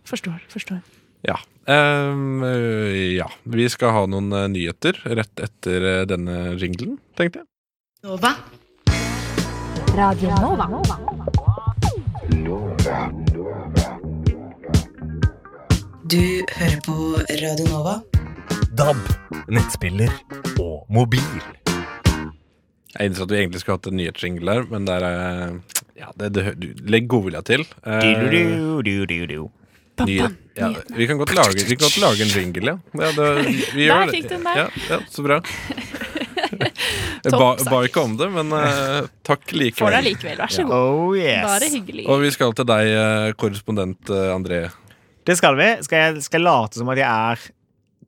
Forstår. forstår Ja. Ehm, øh, ja. Vi skal ha noen eh, nyheter rett etter eh, denne jinglen, tenkte jeg. Nova. Radio Nova. Du hører på Radio Nova. DAB, nettspiller og mobil. Jeg innså at vi egentlig skulle hatt en nyhetsjingle der, men der eh, ja, det, det, du, Legg godvilja til. Eh, Du-du-du-du-du-du. nyhet, ja, vi, kan godt lage, vi kan godt lage en jingle, ja. ja det, vi Der gjør det. fikk du den der. Ja, ja, så [laughs] bra. Jeg ba, Topp sak. ba ikke om det, men eh, takk Får deg likevel. likevel, vær så god. Oh yes. Bare hyggelig. Og vi skal til deg, eh, korrespondent eh, André. Det skal vi. Skal jeg, skal jeg late som at jeg er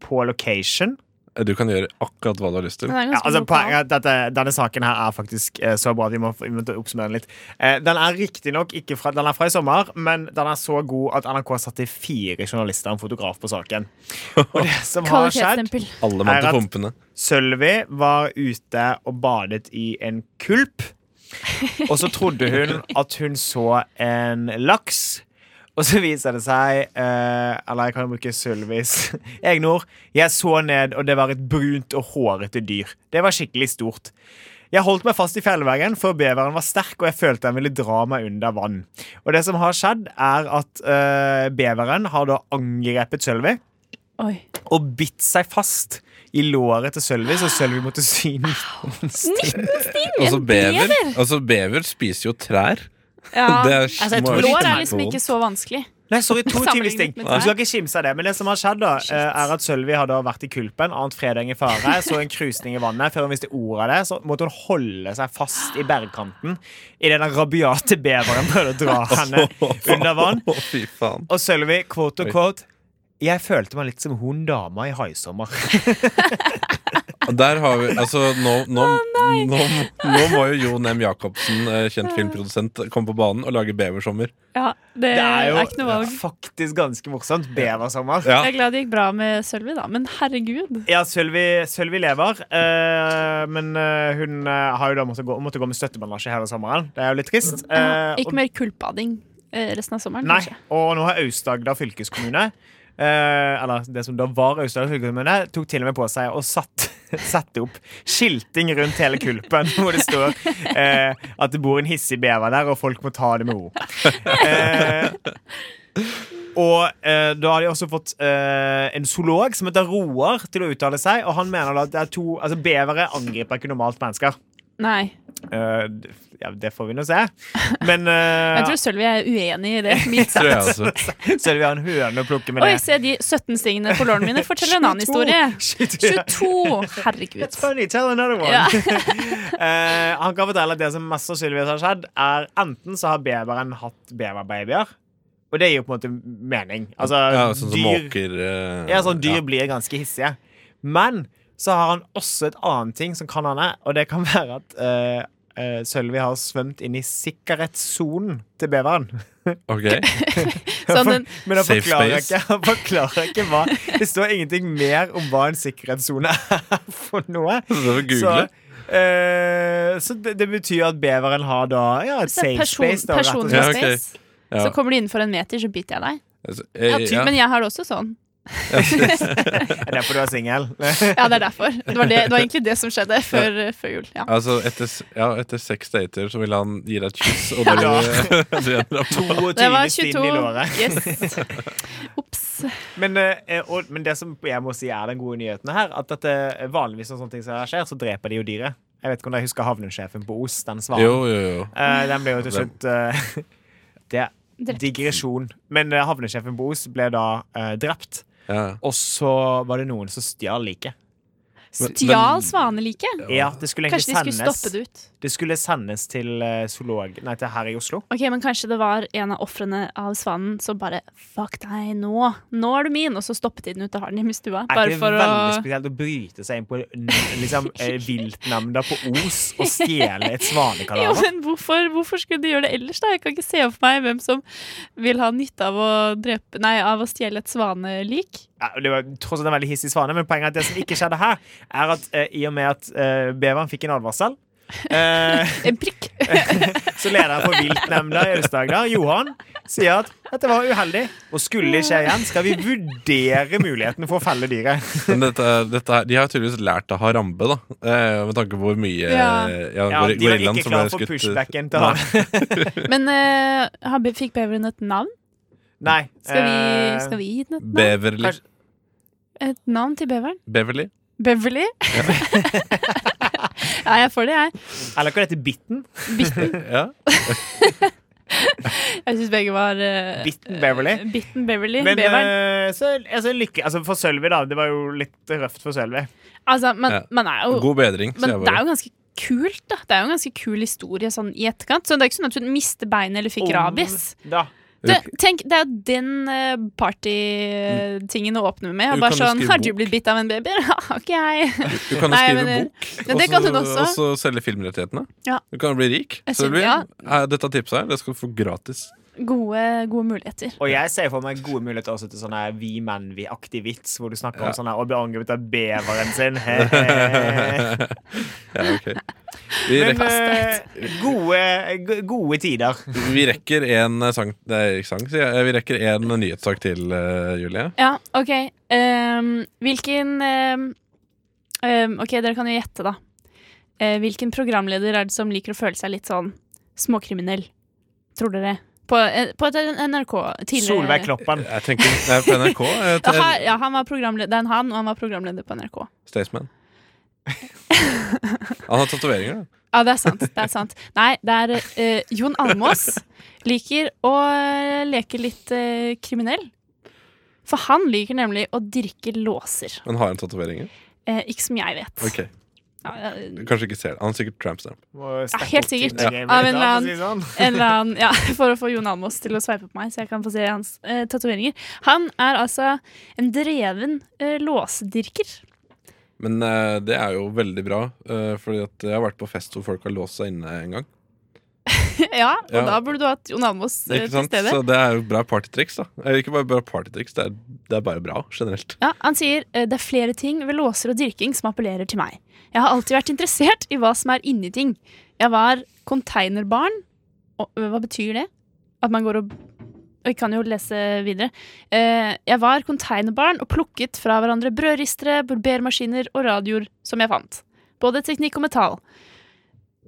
på location? Eh, Du kan gjøre akkurat hva du har lyst til. Den er Ja, ganske altså, lokal. poenget er at dette, denne saken her er faktisk eh, så bra at vi må, vi må oppsummere den litt. Eh, den er riktignok ikke fra, den er fra i sommer, men den er så god at NRK satte fire journalister og en fotograf på saken. Og det som har skjedd Kvalitetsstempel. Alle mann Eirat. til pumpene. Sølvi var ute og badet i en kulp. Og så trodde hun at hun så en laks. Og så viser det seg, eh, eller jeg kan bruke Sølvis [laughs] egne ord Jeg så ned, og det var et brunt og hårete dyr. Det var skikkelig stort. Jeg holdt meg fast i fjellveggen, for beveren var sterk, og jeg følte den ville dra meg under vann. Og det som har skjedd, er at eh, beveren har da angrepet Sølvi Oi. og bitt seg fast i låret til Sølvi, så Sølvi måtte sy 19 sting. Altså En bever, bever? altså bever spiser jo trær. Ja. [laughs] Det er Altså, jeg tror smart. det Lår er er liksom ikke så vanskelig. Nei, sorry, 22 Sammenlignet sting. med Du trær. skal ikke kimse av det. Men det som har skjedd, da, eh, er at Sølvi har da vært i kulpen, ant fredeng i fare, så en krusning i vannet. Før hun visste ordet av det, så måtte hun holde seg fast i bergkanten idet den rabiate beveren prøvde å dra [laughs] Altså. [laughs] henne under vann. Å, fy faen. Og Sølvi, quote og quote jeg følte meg litt som hun dama i Haisommer. Og Der har vi, altså nå, nå, nå, nå må jo Jon M. Jacobsen, eh, kjent filmprodusent, komme på banen og lage beversommer. Ja, det, Det er jo Eh, er ikke noe valg. faktisk ganske morsomt. Beversommer. Ja. Jeg er glad det gikk bra med Sølvi, da. Men herregud. Ja, Sølvi, Sølvi lever, eh, men eh, hun eh, har jo da måttet gå, måtte gå med støttebandasje hele sommeren. Det er jo litt trist. Eh, Ikke mer kulpading eh, resten av sommeren, og, nei, kanskje. og nå har Aust-Agder fylkeskommune, eh, eller det som da var Aust-Agder fylkeskommune, tok til og med på seg og satt, [laughs] satte opp skilting rundt hele kulpen [laughs] hvor det står eh, at det bor en hissig bever der, og folk må ta det med ro. Eh, og eh, da har de også fått eh, en zoolog som heter Roar, til å uttale seg. Og han mener da at det er to Altså bevere angriper ikke normalt mennesker. Nei. Eh, d- ja, det får vi nå se. Men eh, Jeg tror Sølvi er uenig i det. [laughs] mildt sagt. Tror jeg altså. så er det vi har en høne å plukke med Oi, det. se de 17 stingene på lårene mine. Fortell en annen historie. 22. 22! It's [laughs] Herregud. funny, tell another one. Ja. [laughs] Eh, han kan fortelle at det som mest sannsynligvis har skjedd, er enten så har beveren hatt beverbabyer, og det gir jo på en måte mening. Altså, Ja, sånn som dyr, måker eh, ja, sånn dyr blir ganske hissige. Men så har han også et annet ting som kan hende, og det kan være at eh, eh, Sølvi har svømt inn i sikkerhetssonen til beveren. Ok. [laughs] Sånn den- Men han Safe forklarer, space. ikke, [laughs] han forklarer ikke hva Det står ingenting mer om hva en sikkerhetssone er [laughs] for noe. Så det var Så, Google. eh, så det, det betyr at beveren har da ja, et Så safe person, space. Da, rett og slett. personlig Ja, ok. space. Ja. Så kommer du innenfor en meter, så biter jeg deg. Altså, eh, Ja, ty- ja. Men jeg har det også sånn. Det er derfor du er singel. [laughs] [laughs] Ja, det er derfor. Det var, det, det var egentlig det som skjedde før, før jul. Ja. Altså, etter, s- ja, etter seks dater så vil han gi deg et kyss, og du, [laughs] du ender opp Det var 22 stinn i 22. låret. [laughs] Yes. Ops. Men, eh, og, men det som jeg må si er den gode nyheten her, at dette, vanligvis når sånne ting som her skjer, så dreper de jo dyret. Jeg vet ikke om dere husker havnesjefen på Os, den svaren. Jo, jo, jo. Eh, den ble jo til slutt eh, [laughs] Det Drept. digresjon. Men eh, havnesjefen på Os ble da eh, drept. Ja. Og så var det noen som stjal liket. Men- Stjal men- svaneliket. Ja, det skulle egentlig Kanskje de skulle sendes stoppe det ut. Det skulle sendes til eh, zoolog Nei, til her i Oslo. Ok, Men kanskje det var en av ofrene av svanen som bare Fuck deg, nå! Nå er du min! Og så stoppet de den ut og har den hjemme i stua. Er Bare ikke det for å veldig [laughs] spesielt å bryte seg inn på n- liksom, eh, viltnemnda på Os og stjele et [laughs] jo, svanekadaver? men hvorfor, hvorfor skulle de gjøre det ellers? da? Jeg kan ikke se for meg hvem som vil ha nytte av å, drepe, nei, av å stjele et svanelik. Ja, det var tross alt en veldig hissig svane, men poenget er at det som ikke skjedde her, er at eh, i og med at eh, beveren fikk en advarsel eh, En prikk! Så lederen for viltnemnda i Aust-Agder, Johan, sier at dette var uheldig og skulle det skje igjen, skal vi vurdere muligheten for å felle dyret. Men dette, dette her, de har tydeligvis lært av Harambe, da. Eh, med tanke på hvor mye Ja. eh, Ja, gor- de var gorillaen ikke som klar ble for skutt, eh, pushbacken til nei. han. Men eh, har be- fikk beveren et navn? Nei. Skal vi, eh, skal vi gi den et navn? Beverly. kanskje- Et navn til beveren? Beverly. [laughs] Beverly? ja, jeg får det, jeg. Eller hva det heter Bitten? Bitten. Ja. Jeg syns begge var eh, Bitten Beverly. eh, Bitten Beverly. Men beveren. eh, så, altså, lykke, altså, for Sølvi, da. Det var jo litt røft for Sølvi. Altså, men Ja. man er jo God bedring, Men sier jeg det er bare. jo ganske kult, da. Det er jo en ganske kul historie sånn i etterkant. Så det er ikke sånn at hun mister beinet eller fikk Om rabies. Da. Du, tenk, det er jo den eh, partytingen å åpne med. Du Og bare kan jo sånn skrive Har du bok." blitt bitt av en baby? [laughs] ok. [laughs] Du kan jo Nei, skrive men- bok, Men det kan hun og så- også. og så selge filmrettighetene. Ja. Du kan jo bli rik. Jeg Så det synes- blir, ja. eh, dette tipset her, det skal du få gratis. Gode, gode muligheter. Og jeg ser for meg gode muligheter også til sånn her vi menn, vi-aktig vits, hvor du snakker om sånn her å bli angrepet av beveren sin. Ja, ok Vi Men rekker, eh, gode, go- gode tider. vi rekker en eh, sang Nei, ikke sang, sier jeg. Vi rekker en nyhetssak til, eh, Julie. Ja, OK. Ehm, hvilken ehm, ehm, OK, dere kan jo gjette, da. Eh, hvilken programleder er det som liker å føle seg litt sånn småkriminell? Tror dere? På, eh, på et NRK tidligere Solveig Kloppen. Jeg tenker Nei, på NRK. eh, Ja, til her- ja, han var programleder, det er en han, og han var programleder på NRK. Staysman. Han har tatoveringer, da. Ja, det er sant. det er sant Nei, det er eh, Jon Almås liker å eh, leke litt eh, kriminell. For han liker nemlig å dirke låser. Men har han tatoveringer? Eh, ikke som jeg vet. Ok, Ja, eh, du Kanskje ikke ser det. Han har sikkert tramp stamp. Må steppe helt opp til sikkert. det gamet, Av en da, for å si eller det sånn. en eller annen, ja, [laughs] for å få Jon Almås til å sveipe på meg, så jeg kan få se hans eh, tatoveringer. Han er altså en dreven eh, låsedirker. Men eh, det er jo veldig bra, uh, Fordi at jeg har vært på fest hvor folk har låst seg inne en gang. [laughs] ja, og Ja. da burde du hatt Jon Almås eh, Ikke til sant? stede. Så det er jo bra partytriks, da. Eller ikke bare bra partytriks, det er, det er bare bra generelt. Ja, Han sier eh, det er flere ting ved låser og dyrking som appellerer til meg. Jeg har alltid vært interessert i hva som er inni ting. Jeg var containerbarn. Og, øh, hva betyr det? At man går og Vi kan jo lese videre. Eh, jeg var containerbarn og plukket fra hverandre brødristere, barbermaskiner og radioer som jeg fant. Både teknikk og metall.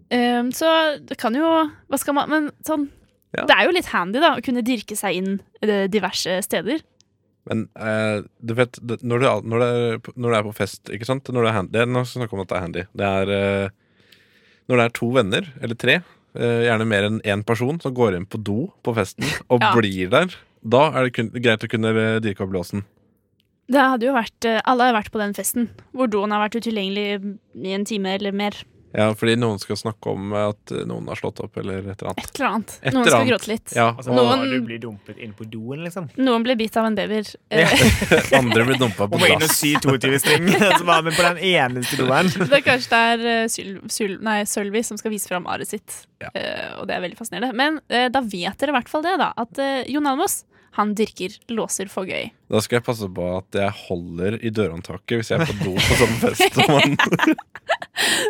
Eh, så det kan jo Hva skal man Men sånn Ja. Det er jo litt handy, da, å kunne dirke seg inn eh, diverse steder. Men eh, du vet, det- når du, al- når, det er, på- når du er på fest ikke sant? Når det er handy, det er, Nå skal vi snakke om at det er handy. Det er eh, når det er to venner, eller tre, eh, gjerne mer enn én person, som går inn på do på [laughs] festen og Ja. blir der. Da er det kun, greit å kunne eh, dirke opp låsen. Det hadde jo vært, eh, Alle har vært på den festen, hvor doen har vært utilgjengelig i en time eller mer. Ja, fordi noen skal snakke om eh, at eh, noen har slått opp, eller et eller annet. Et eller annet. Et Noen eller skal annet. gråte litt. Ja, Altså, og Noen- Du blir dumpet inn på doen, liksom. Noen ble bitt av en bever. Ja. Eh, [laughs] andre blir dumpa Og på må inn og dass. sy 22-string. [laughs] Så var vi Altså, på den eneste doen. [laughs] det er kanskje det er eh, Syl, Syl, nei, Sølvi som skal vise fram aret sitt, Ja. Eh, og det er veldig fascinerende. Men eh, da vet dere i hvert fall det, da, at eh, Jon Almaas han dyrker låser for gøy. Da skal jeg passe på at jeg holder i dørhåndtaket hvis jeg er på do på sånn fest. som [laughs] man-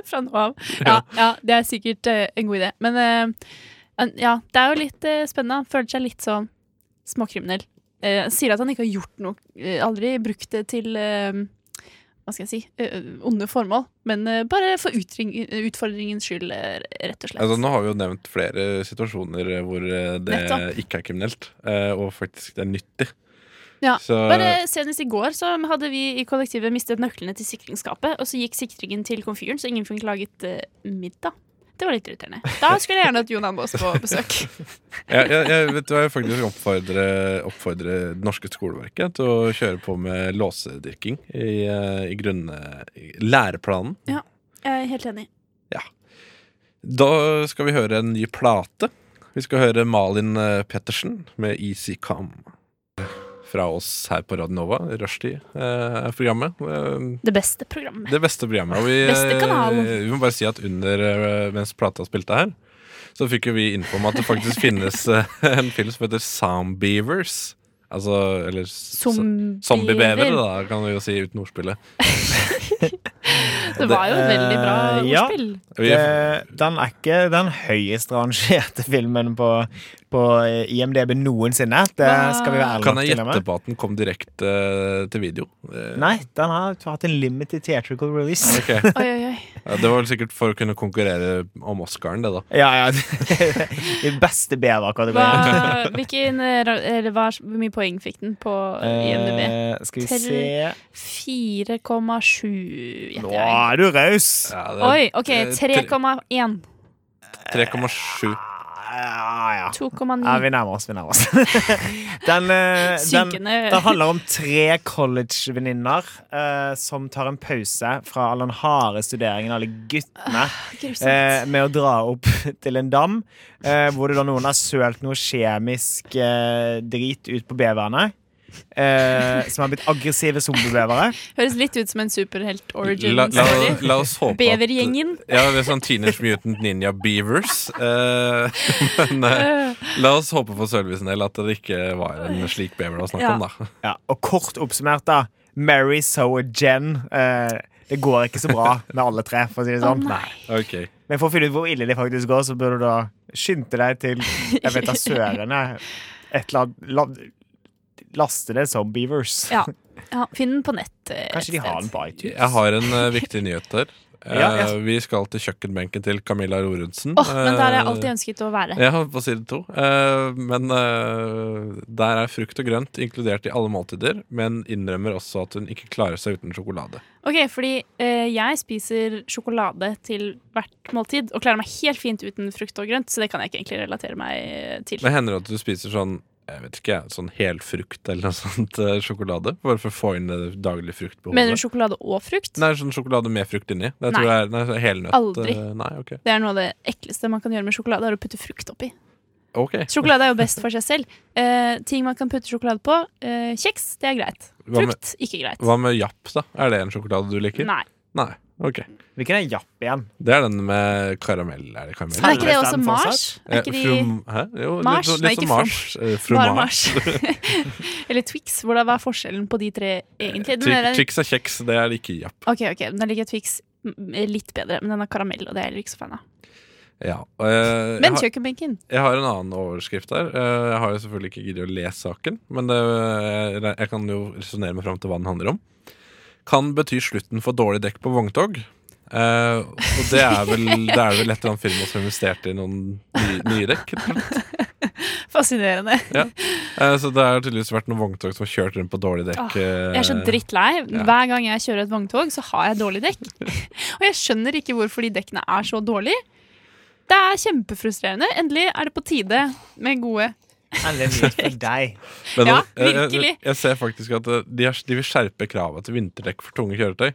Fra nå av. Ja, ja, det er sikkert eh, en god idé. Men eh, en- ja, det er jo litt eh, spennende. Han føler seg litt sånn småkriminell. Eh, sier at han ikke har gjort noe, eh, aldri brukt det til eh, hva skal jeg si, eh, onde formål. Men eh, bare for utring, utfordringens skyld, eh, rett og slett. Altså, nå har vi jo nevnt flere situasjoner hvor eh, det Nettopp. ikke er kriminelt, eh, og faktisk det er nyttig. Ja, Så eh, Bare senest i går så hadde vi i kollektivet mistet nøklene til sikringsskapet, og så gikk sikringen til komfyren, så ingen fikk laget eh, middag. Det var litt irriterende. Da skulle jeg gjerne hatt Jon Ambås på besøk. [laughs] jeg, jeg, jeg, vet du, hva, jeg vil faktisk oppfordre, oppfordre det norske skoleverket til å kjøre på med låsedyrking i, eh, i grunne, i læreplanen. Jeg er helt enig. Da skal vi høre en ny plate. Vi skal høre Malin eh, Pettersen med Easy Come. Fra oss her på Radionova, eh, Rushdie-programmet. Det beste programmet. Eh, Det beste programmet. Og vi, Beste kanal. eh, vi må bare si at under eh, mens plata spilte her, så fikk jo vi info om at det faktisk finnes eh, en film som heter Soundbeavers. Altså Eller s- Zombiebever. Zombiebevere, da, kan vi jo si uten ordspillet. Det var jo et veldig bra Eh, ja. ordspill. Vi, Eh, Den er ikke den høyest rangerte filmen på, på eh, IMDb noensinne. Det skal vi være ærlige kan nok jeg til å gjette innrømme. på at den kom direkte eh, til video? Eh, Nei, den har hatt en limited theatrical [laughs] release. ok. Oi, oi, oi. Ja, det var vel sikkert for å kunne konkurrere om Oscaren, det, da. Ja, ja. [laughs] De beste Hva, beverkategoriene. [laughs] hvilken, eh, ra- eller hva hvor mye poeng fikk den på IMDb? Eh, skal vi Tell- se 4,7 Nå gjetter jeg. er du raus! Ja, det er Oi, OK. eh, 3,1. 3,7. Ah, Ja, ja. 2,9. Ja, vi nærmer oss, vi nærmer oss. [laughs] Den, eh, den, Synkende. den [laughs] handler om tre collegevenninner eh, som tar en pause fra all den harde studeringen, alle guttene, Ah, eh, Grusomt. med å dra opp [laughs] til en dam, eh, hvor det da noen har sølt noe kjemisk eh, drit ut på beverne. Eh, som har blitt aggressive zombiebevere. Høres litt ut som en superhelt-origin. La, la, la oss håpe at Bevergjengen. Ja, det er sånn Teenage Mutant Ninja Beavers. Eh, [laughs] men eh, la oss håpe for Sølvis en del at det ikke var en slik bever det var snakk om, da. Ja, og kort oppsummert, da. Mary, Zoe og Jen. Eh, det går ikke så bra med alle tre, for å si det sånn. nei. Ok Men for å finne ut hvor ille de faktisk går, så bør du da skynde deg til Jeg vet [laughs] da søren, jeg. Et eller annet la- Laste det som Beavers. Ja. ja. Finn den på nett. eh, et Kanskje de har sted. den på iTunes. Jeg har en eh, viktig nyhet der. Eh, Ja, ja. Vi skal til kjøkkenbenken til Camilla Rorundsen. Åh, men der har jeg Eh, alltid ønsket å være. Ja, på side to. Eh, men eh, der er frukt og grønt inkludert i alle måltider, men innrømmer også at hun ikke klarer seg uten sjokolade. Ok, fordi eh, jeg spiser sjokolade til hvert måltid og klarer meg helt fint uten frukt og grønt, så det kan jeg ikke egentlig relatere meg eh, til. Men hender det at du spiser sånn jeg vet ikke, sånn helfrukt eller noe [laughs] sånt eh, sjokolade? Bare for å få inn det daglige fruktbehovet? Mener du sjokolade og frukt? Nei, sånn sjokolade med frukt inni. Det tror jeg er nei, så helnøtt. Aldri. eh, Nei, ok. Det er noe av det ekleste man kan gjøre med sjokolade, er å putte frukt oppi. Ok, Sjokolade er jo best for seg selv. Eh, ting man kan putte sjokolade på. eh, kjeks, det er greit. Hva med- Frukt, ikke greit. Hva med Japp, da? Er det en sjokolade du liker? Nei. Nei. Ok. Hvilken er Japp igjen? Det er den med karamell. Er det karamell? Men er ikke det også Selvbestemt Mars? Er Eh, ikke de from- Hæ? Jo, Mars? Litt, sånn- Nei, litt som ikke Mars. Eh, From Bare Mars. Mars. [laughs] Eller Twix. Hvordan var forskjellen på de tre, egentlig? Den Tri- der- Triks og kjeks, det er det ikke Japp. Ok, ok, den ligger Twix m- litt bedre, men den har karamell, og det er jeg ikke så fan av. Ja. og, eh, jeg, Men har, kjøkkenbenken. jeg har en annen overskrift der. Eh, Jeg har jo selvfølgelig ikke giddet å lese saken, men det, jeg, jeg kan jo resonnere meg fram til hva den handler om. Kan bety slutten for dårlig dekk på vogntog. Eh, og det er [laughs] vel, det er vel et eller annet firma som investerte i noen nye, nye dekk. rett og slett. Fascinerende. Eh, så det har tydeligvis vært noen vogntog som har kjørt rundt på dårlig dekk. Åh, Jeg er så eh, drittlei. Ja. Hver gang jeg kjører et vogntog, så har jeg dårlig dekk. [laughs] Og jeg skjønner ikke hvorfor de dekkene er så dårlige. Det er kjempefrustrerende. Endelig er det på tide med gode Endelig nytt [laughs] for deg. Men Ja, nå- jeg- Jeg, virkelig. jeg ser faktisk at eh, de, har, de vil skjerpe kravet til vinterdekk for tunge kjøretøy.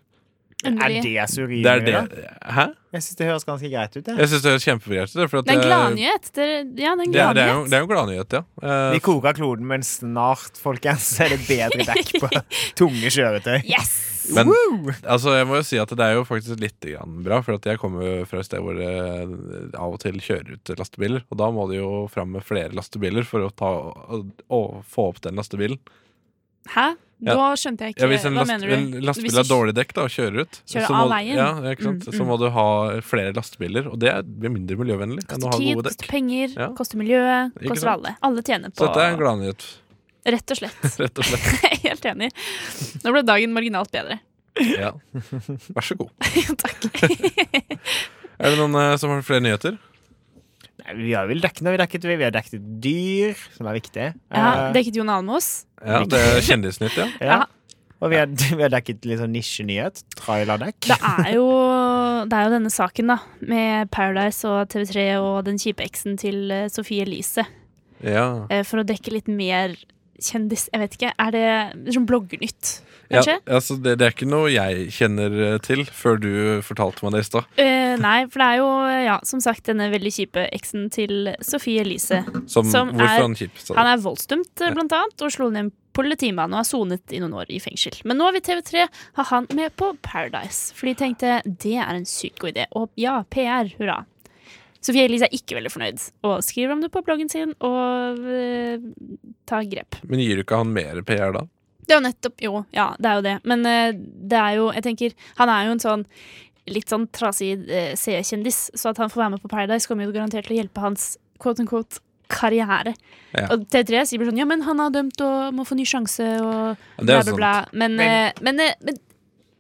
Er endelig. det så Det er urimelig? da? det Hæ? Jeg syns det høres ganske greit ut. Det. Jeg syns det høres kjempebegreit ut. for at Det er en det- gladnyhet. Det er- Ja, det er en Det er, det er jo gladnyhet. det er jo en gladnyhet, ja. Eh, Vi koker kloden, men snart, folkens, er det bedre dekk [laughs] på tunge kjøretøy. Yes! men altså, jeg må jo si at det er jo faktisk litt grann bra, for at jeg kommer jo fra et sted hvor det av og til kjører ut lastebiler. Og da må det jo fram med flere lastebiler for å, ta, å, å få opp den lastebilen. Hæ? Nå skjønte jeg Ja, ikke. hvis en, Hva last, mener en du? lastebil Hvis har du- dårlig dekk da, og kjører ut, Kjører så, må, av veien. ja, ikke sant? Mm, så mm. må du ha flere lastebiler. Og det blir mindre miljøvennlig enn å ha Tid gode koster dekk. penger, Ja. koster miljøet, Ikke koster sant? alle. Alle tjener Så på dette er en gladnyhet, Rett og slett. rett og slett. [laughs] Jeg er helt enig. Nå ble dagen marginalt bedre. [laughs] Ja. Vær så god. Takk. Er det noen eh, som har flere nyheter? Nei, vi har vel dekket når vi dekket. Vi har dekket dyr, som er viktig. Ja, Eh, dekket Jon Almaas. Ja, det er Kjendisnytt, ja. ja. Ja. Og vi har, [laughs] vi har dekket litt sånn nisjenyhet. Trailerdekk. Det er, jo, det er jo denne saken, da. Med Paradise og TV3 og den kjipe eksen til eh, Sophie Elise. ja. Eh, For å dekke litt mer kjendis... Jeg vet ikke. Er det sånn bloggernytt, Ja, kanskje? altså det, det er ikke noe jeg kjenner eh, til før du fortalte meg det i stad. Eh, nei, for det er jo, eh, ja, som sagt, denne veldig kjipe eksen til Sophie Elise. Som, Som hvorfor er- han kjip sa Han det. er voldsdømt, eh, blant annet, og slo ned en politimann og har sonet i noen år i fengsel. Men nå vil TV3 ha han med på Paradise, for de tenkte det er en sykt god idé. Og ja, PR, hurra. Sofie Elise er ikke veldig fornøyd, og skriver om det på bloggen sin og eh, tar grep. [laughs] Men gir du ikke han mer PR da? Det er jo nettopp Jo, ja, det er jo det. Men eh, det er jo Jeg tenker, han er jo en sånn litt sånn trasig eh, C-kjendis, så at han får være med på Paradise, kommer jo garantert til å hjelpe hans quote unquote karriere. Ja. Og T3 sier bare sånn Ja, men han har dømt og må få ny sjanse og Ja, Det er bla, bla, jo bla. sant. Men, eh, men, eh, men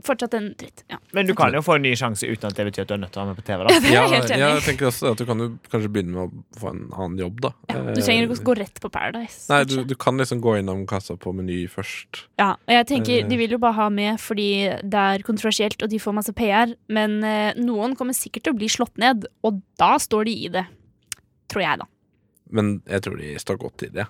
fortsatt en dritt. Ja. [laughs] Men du kan jo få en ny sjanse uten at det betyr at du er nødt til å være med på TV. da Det er Ja, jeg helt enig jeg i. tenker også at du kan jo kanskje begynne med å få en annen jobb, da. Du trenger ikke å gå rett på Paradise. Nei, kanskje. du, du kan liksom gå innom kassa på Meny først. Ja, og jeg tenker Eh. De vil jo bare ha med fordi det er kontroversielt, og de får masse PR. Men eh, noen kommer sikkert til å bli slått ned, og da står de i det. Tror jeg, da. Men jeg tror de står godt i det.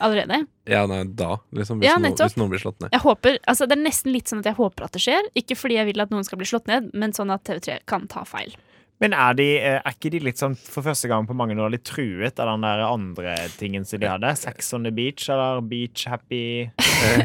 Allerede. Ja, nei, da, liksom. Hvis, Ja, noen, nettopp. hvis noen blir slått ned. Jeg håper, altså Det er nesten litt sånn at jeg håper at det skjer. Ikke fordi jeg vil at noen skal bli slått ned, men sånn at TV3 kan ta [laughs] feil. Men er, de, eh, er ikke de litt sånn for første gang på mange år litt truet av den der andre tingen som de hadde? Sex on the beach eller Beach Happy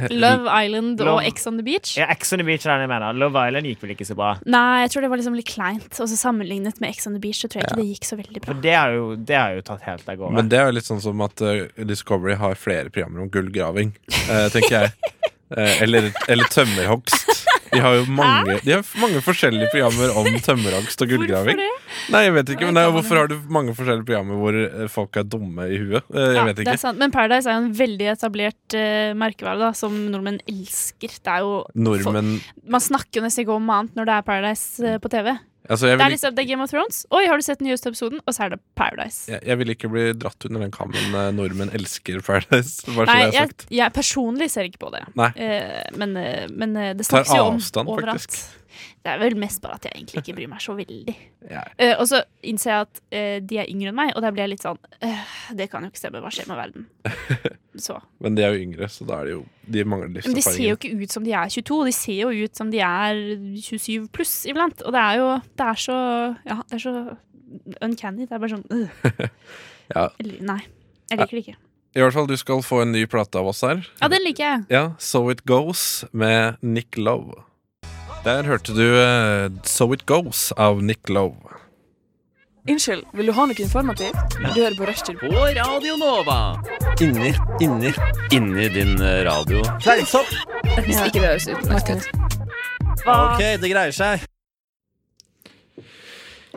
Love Island Love- og Ex on the Beach. Ja, Ex on the beach er den jeg mener. Love Island gikk vel ikke så bra. Nei, jeg tror det var liksom litt kleint. Og så sammenlignet med Ex on the Beach, så tror jeg ikke det gikk så veldig bra. For det er jo, det er jo tatt helt av gårde. Men det er jo litt sånn som at eh, Discovery har flere programmer om gullgraving, eh, tenker jeg. [laughs] Eh, eller, eller tømmerhogst. De har jo mange, de har mange forskjellige programmer [laughs] om tømmerhogst og gullgraving. Hvorfor det? Nei, jeg vet ikke, Nei, men det er, jo kan man Hvorfor har du mange forskjellige programmer hvor eh, folk er dumme i huet? Eh, Jeg Ja, vet Det ikke. er sant. Men Paradise er jo en veldig etablert eh, merkevare da, som nordmenn elsker. Det er jo Nordmenn Man snakker jo nesten ikke om annet når det er Paradise eh, på TV. altså, jeg, Det er vil, liksom det er Game of Thrones. Oi, har du sett den nyeste episoden? Og så er det Paradise. jeg, jeg vil ikke bli dratt under den kammen eh, nordmenn elsker Paradise. [laughs] Bare så Nei, det er jeg, sagt. jeg personlig ser ikke på det. Nei. Eh, men, eh, men eh, det Tar snakkes jo om avstand, overalt. faktisk. Det er vel mest bare at jeg egentlig ikke bryr meg så veldig. [laughs] Ja. Eh, og så innser jeg at eh, de er yngre enn meg, og der blir jeg litt sånn eh, Det kan jo ikke stemme. Hva skjer med verden? [laughs] Så. Men de er jo yngre, så da er det jo De mangler Men de ser jo livserfaring. ikke ut som de er 22, de ser jo ut som de er 27 pluss iblant. Og det er jo Det er så Ja, det er så uncanny. Det er bare sånn øh. [laughs] Ja. Eller, Nei. Jeg liker det ikke. I hvert fall, du skal få en ny plate av oss her. Ja, den liker jeg. Ja, So It Goes med Nick Lowe. Der hørte du eh, So It Goes av Nick Lowe. Unnskyld, vil du ha noe informativt? Du hører på Rushtid. På Radio Nova. Inni, inni. Inni din eh, radio. Fleinsopp! Hvis ikke det høres utmerket ut. Ok, det greier seg.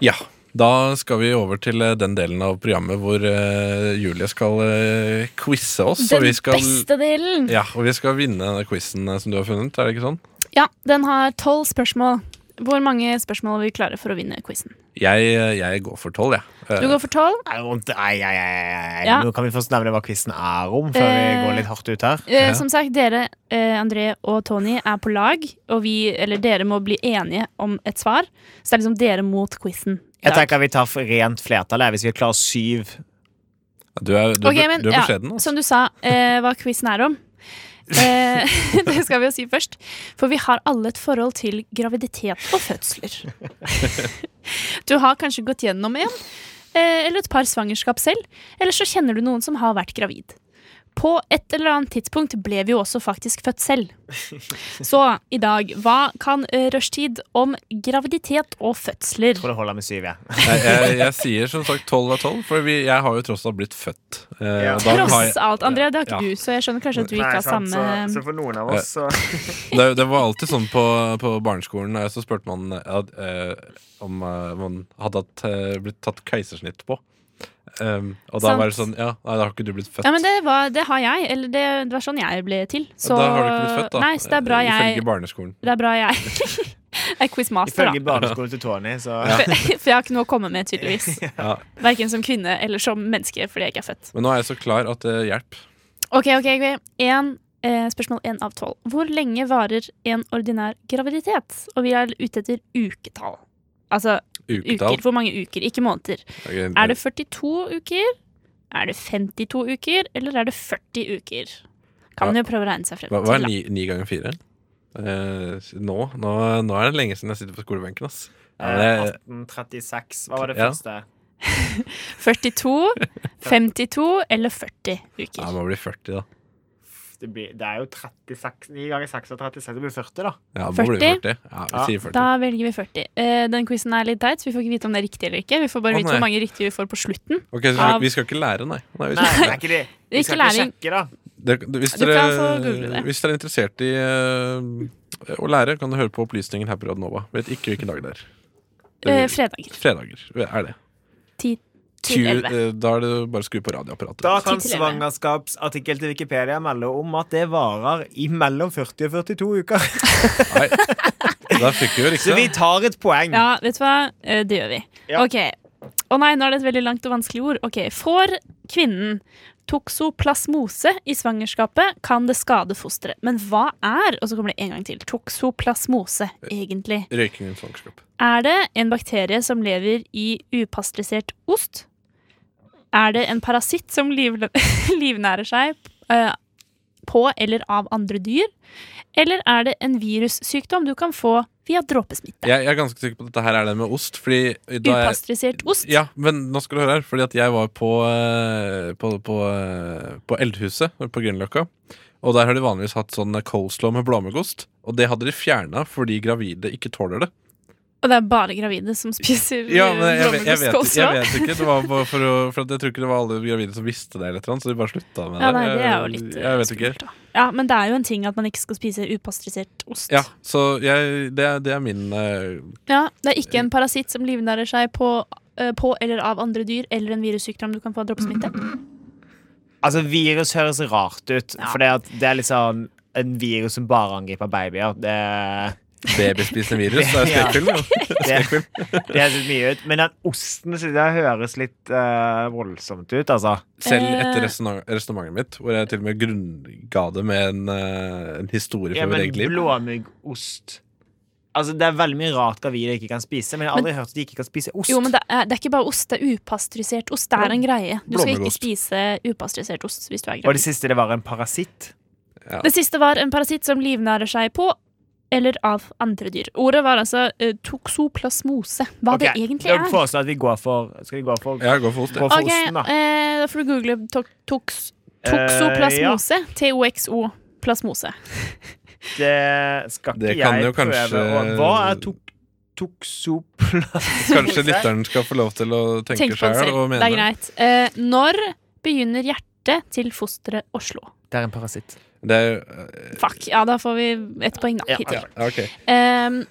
Ja, da skal vi over til eh, den delen av programmet hvor eh, Julie skal eh, quizze oss. og Den vi skal, beste delen! Ja, og vi skal vinne denne quizen eh, som du har funnet, er det ikke sånn? Ja, den har tolv spørsmål. Hvor mange spørsmål vil vi klare for å vinne quizen? Jeg, eh, jeg går for tolv, jeg. Eh, Du går for tolv. Er det vondt? Ai, ai, ai, ai, ai. Ja. Nå kan vi først nevne hva quizen er om, før vi Eh. går litt hardt ut her. Eh, Ja. Som sagt, dere, eh, André og Tony, er på lag, og vi, eller dere må bli enige om et svar. Så det er liksom dere mot quizen. Jeg tenker vi tar for rent flertall jeg, hvis vi klarer syv. du er, du, er- Ok, men, du er ja, beskjeden, altså. Som du sa, eh, hva quizen er om. Eh, [laughs] det skal vi jo si først. For vi har alle et forhold til graviditet og fødsler. [laughs] Du har kanskje gått gjennom en, eh, eller et par svangerskap selv. Eller så kjenner du noen som har vært gravid. På et eller annet tidspunkt ble vi jo også faktisk født selv. [laughs] Så i dag, hva kan eh, rushtid om graviditet og fødsler? Jeg tror det holder med syv, jeg. Nei, jeg, jeg sier som sagt tolv av tolv, for vi, jeg har jo tross alt blitt født. Eh, Ja. og da har jeg, Tross alt, André, det har ikke Ja. du, så jeg skjønner kanskje at du ikke har samme eh, for noen av oss, så det, det var alltid sånn på, på barneskolen. eh, Så spurte man eh, at, eh, om eh, man hadde hatt, eh, blitt tatt keisersnitt på. Um, og da Sant. var det sånn Ja, nei, da har ikke du blitt født. Ja, men det, var, det har jeg. Eller det, det var sånn jeg ble til. Så, da har du ikke blitt født, da. Nei, så det er bra eh, jeg, Ifølge barneskolen. det er, bra jeg [laughs] er [laughs] quizmaster, Ifølge da. barneskolen til Tony, så For, [laughs] for jeg har ikke noe å komme med, tydeligvis. Ja. Verken som kvinne eller som menneske, fordi jeg ikke er født. Men nå er jeg så klar at eh, det hjelper. Ok, ok, ok. En, eh, spørsmål én av tolv. Hvor lenge varer en ordinær graviditet? Og vi er ute etter uketall. Altså Uketall. uker. Hvor mange uker? Ikke måneder. Ok, eh, Er det 42 uker? Er det 52 uker? Eller er det 40 uker? Kan man jo prøve å regne seg frem hva, hva er til. da. ni, ni ganger fire? Eh, nå, nå, nå er det lenge siden jeg sitter på skolebenken, ass. Ja, men eh, jeg- 1836. Hva var det Ja. første? [laughs] 42, 52 eller 40 ja, uker. jeg må bli 40, da. det, blir, det er jo 36 9 ganger 6 og 36, det blir 40, da. Ja, nå blir det 40. 40. Ja, vi sier 40. Da velger vi 40. Eh, den quizen er litt teit, så vi får ikke vite om det er riktig eller ikke. Vi får bare Å, vite hvor nei. mange riktige vi får på slutten. Ok, så vi- av- vi skal ikke lære, nei. nei, Nei, vi skal det ikke er lære. ikke det. Vi Ikke skal ikke læring. sjekke, da. Det, hvis, Du kan få google dere, det. hvis dere er interessert i eh, å lære, kan dere høre på opplysningen her på Radio Nova. Vet ikke hvilken dag det er. Eh, fredager. Fredager er det. Ti til Tju- elleve. eh, da er det bare å skru på radioapparatet. Da kan Ti til elleve. svangerskapsartikkel til Wikipedia melde om at det varer i mellom 40 og 42 uker. Nei. Da fikk vi jo [laughs] Så vi riktig. tar et poeng. Ja, vet du hva? Eh, Det gjør vi. Ja. Ok. Å nei, nå er det et veldig langt og vanskelig ord. Ok, Får kvinnen toksoplasmose i svangerskapet, kan det skade fosteret. Men hva er, og så kommer det en gang til, toksoplasmose egentlig? Røyking i svangerskap. Er det en bakterie som lever i upasteurisert ost? Er det en parasitt som liv, [laughs] livnærer seg eh, på eller av andre dyr? Eller er det en virussykdom du kan få via dråpesmitte? Jeg, jeg er ganske sikker på at dette her er det med ost. Fordi da jeg, Upasteurisert ost? Ja, men nå skal du høre her. Fordi at jeg var på, eh, på, på, eh, på Eldhuset på Grünerløkka. Og der har de vanligvis hatt sånn coleslaw med blåmuggost. Og det hadde de fjerna fordi gravide ikke tåler det. Og det er bare gravide som spiser Ja, men jeg, jeg, jeg, vet, blåmuggost jeg også? vet ikke. Det var bare for, å, for at jeg tror ikke det var alle gravide som visste det, eller et eller annet, så de bare slutta med det. Ja, nei, det er jo litt eh, jeg, jeg vet ikke. skummelt, da. Ja, men det er jo en ting at man ikke skal spise upasteurisert ost. Ja, så jeg, det, er- det er min eh, Ja, det er ikke en parasitt som livnærer seg på, eh, på eller av andre dyr, eller en virussykdom du kan få av dråpesmitte. Altså, virus høres rart ut, Ja. for det, at det er litt sånn en virus som bare angriper babyer. Det, babyspisende virus. Det [laughs] er Ja. skrekkfilm. jo. [laughs] det, det høres litt mye ut. Men den osten synes jeg, det høres litt eh, voldsomt ut, altså. Selv Eh. etter resonnementet mitt, hvor jeg til og med grunnga det med en, eh, en historie fra Ja, mitt men eget liv. blåmuggost Altså, Det er veldig mye rart gravide ikke kan spise, men jeg har aldri hørt at de ikke kan spise ost. Jo, men det er, det er ikke bare ost, det er upasteurisert ost. Det er en greie. Du skal ikke blåmuggost. spise upasteurisert ost hvis du er Og det gravid. siste, det var en parasitt. Det siste var en parasitt som livnærer seg på eller av andre dyr. Ordet var altså eh, toksoplasmose. Hva Ok, det egentlig da er. foreslår jeg at vi går for Skal vi gå for Jeg går for ost. jeg. Gå for Ok, osten, da. eh, da får du google tok, toks, Eh, toxoplasmose. TOXO. Plasmose. Det skal ikke Det kan jeg jo prøve. kanskje- å- Hva er tok... Toksopla... Kanskje lytteren skal få lov til å tenke Tenk på det sjøl og selv. Det mene. er greit. Eh, når begynner hjertet til fosteret å slå? Det er en parasitt. Det er jo Fuck. Ja, da får vi ett poeng, da. Ja, Hittil. ja, ok. Ehm,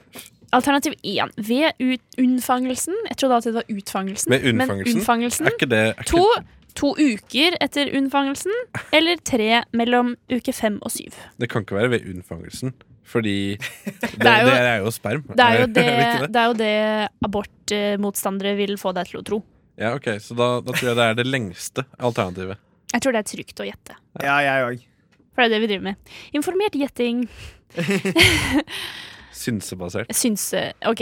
alternativ én. Ved ut unnfangelsen. Jeg trodde alltid det var utfangelsen. Ved unnfangelsen? Men unnfangelsen. Er ikke det er ikke, To, to uker etter unnfangelsen. Eller tre mellom uke fem og syv. Det kan ikke være ved unnfangelsen, [laughs] fordi det, det, er er, jo- jo, sperm. [laughs] Det er jo det, ikke det? det, er jo det abortmotstandere vil få deg til å tro. Ja, ok, Så da, da tror jeg det er det lengste alternativet. Jeg tror det er trygt å gjette. Ja, jeg òg. For det er det vi driver med. Informert gjetting. Synsebasert. Synse OK.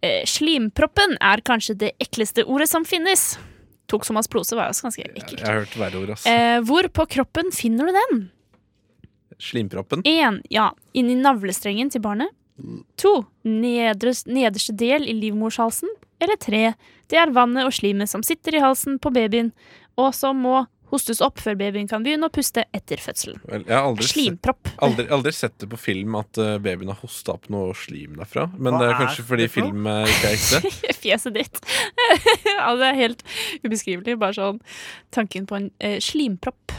Eh, Slimproppen er kanskje det ekleste ordet som finnes. Toksomastplose var også ganske Jeg ekkelt. har hørt verre ord, ass. Eh, hvor på kroppen finner du den? Slimproppen. Én, ja, inni navlestrengen til barnet. To, nedre, nederste del i livmorshalsen. Eller tre, det er vannet og slimet som sitter i halsen på babyen, og som må hostes opp før babyen kan begynne å puste etter fødselen. Vel, Jeg har aldri, sett- Slimpropp. aldri, aldri sett det på film at eh, babyen har hosta opp noe slim derfra. Men Hva det er er kanskje fordi det for noe? film eh, ikke er [laughs] ekte. Fjeset ditt. [laughs] ja, det er helt ubeskrivelig. Bare sånn tanken på en eh, slimpropp.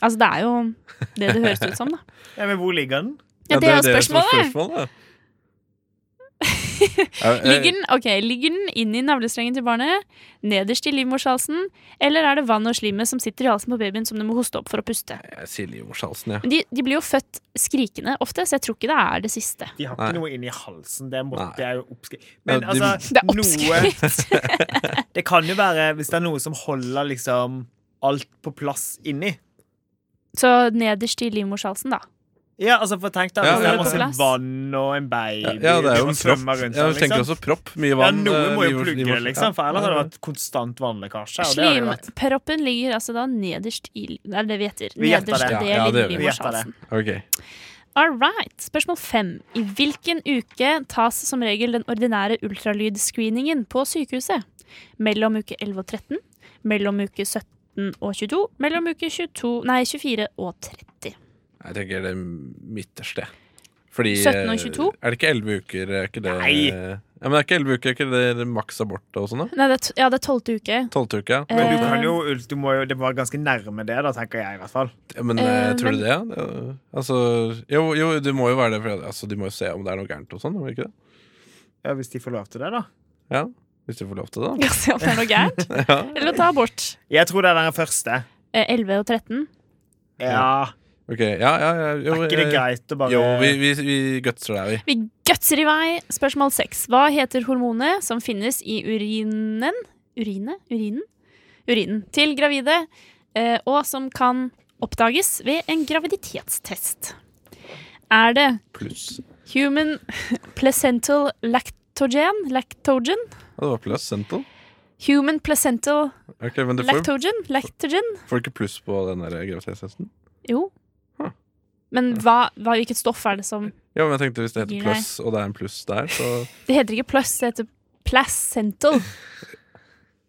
Altså, det er jo det det høres ut som, [laughs] da. Ja, men hvor ligger den? Ja, det er jo som spørsmålet. [laughs] spørsmålet. Eh. Er- er- Ligger den, ok, ligger den inni navlestrengen til barnet, nederst i livmorshalsen, eller er det vann og slimet som sitter i halsen på babyen som du må hoste opp for å puste? Jeg sier livmorshalsen, ja. Men De, de blir jo født skrikende ofte, så jeg tror ikke det er det siste. De har Nei. ikke noe inni halsen. Det, må, Nei. det er jo oppskrift. Men Ja, de- altså, Det er noe oppskrift. [laughs] Det kan jo være hvis det er noe som holder liksom alt på plass inni. så nederst i livmorshalsen, da. Ja, altså for tenk da Ja, Hvis det det er er masse på plass. vann og en baby Ja, ja, det er jo som en propp. svømmer rundt Ja, der, vi tenker liksom. også propp. Mye Ja, vann. eh, noe må jo livmors- plugge, livmors- liksom, for ellers Ja, hadde det ja. Mm. vært konstant vannlekkasje. Og det hadde jo vært Slimproppen ligger altså da nederst i Det er det vi gjetter. Vi gjetter det. Nederste Ja, del ja, det i gjør vi. Vi gjetter det. livmorshalsen. Ok. All right. Spørsmål fem. I hvilken uke tas som regel den ordinære ultralydscreeningen på sykehuset? Mellom uke 11 og 13? Mellom uke 17 og 22? Mellom uke 22, nei, 24 og 30? Jeg tenker det midterste. Fordi 17 og 22? eh, Er det ikke 11 uker? Er ikke det Nei. Ja, men er ikke 11 uker er ikke det, det maks abort og sånn, da? Nei, det er, t- ja, det er tolvte uke. [laughs] 12 uker, ja. Men du Eh, kan jo, du må jo Det var ganske nærme det, da, tenker jeg i hvert fall. Ja, Men eh, eh, tror men- du det? Ja? Det- Altså, jo, jo, det må jo være det, for altså, de må jo se om det er noe gærent og sånn, må de ikke det? Ja, Hvis de får lov til det, da. Ja, Hvis de får lov til det, Skal se om det er noe gærent. da. Ja. Eller å ta abort. Jeg tror det er den første. Eh, 11 og 13. Ja, Ok, ja, ja, ja jo, Er ikke det eh, greit å bare Jo, vi, vi, vi gutser deg, vi. Vi gutser i vei. Spørsmål 6. Hva heter hormonet som finnes i urinen Urine? Urinen? Urinen til gravide, eh, og som kan oppdages ved en graviditetstest. Er det Pluss. human [laughs] placental lactogen? Lactogen? Ja, det var placental. Human placental Ok, men du får, lactogen? Lactogen? får ikke pluss på den der graviditetstesten? Jo. Huh. Men hva, hva, hvilket stoff er det som Ja, men jeg tenkte hvis det Gir heter deg. pluss, og det er en pluss der, så Det heter ikke pluss, det heter placental.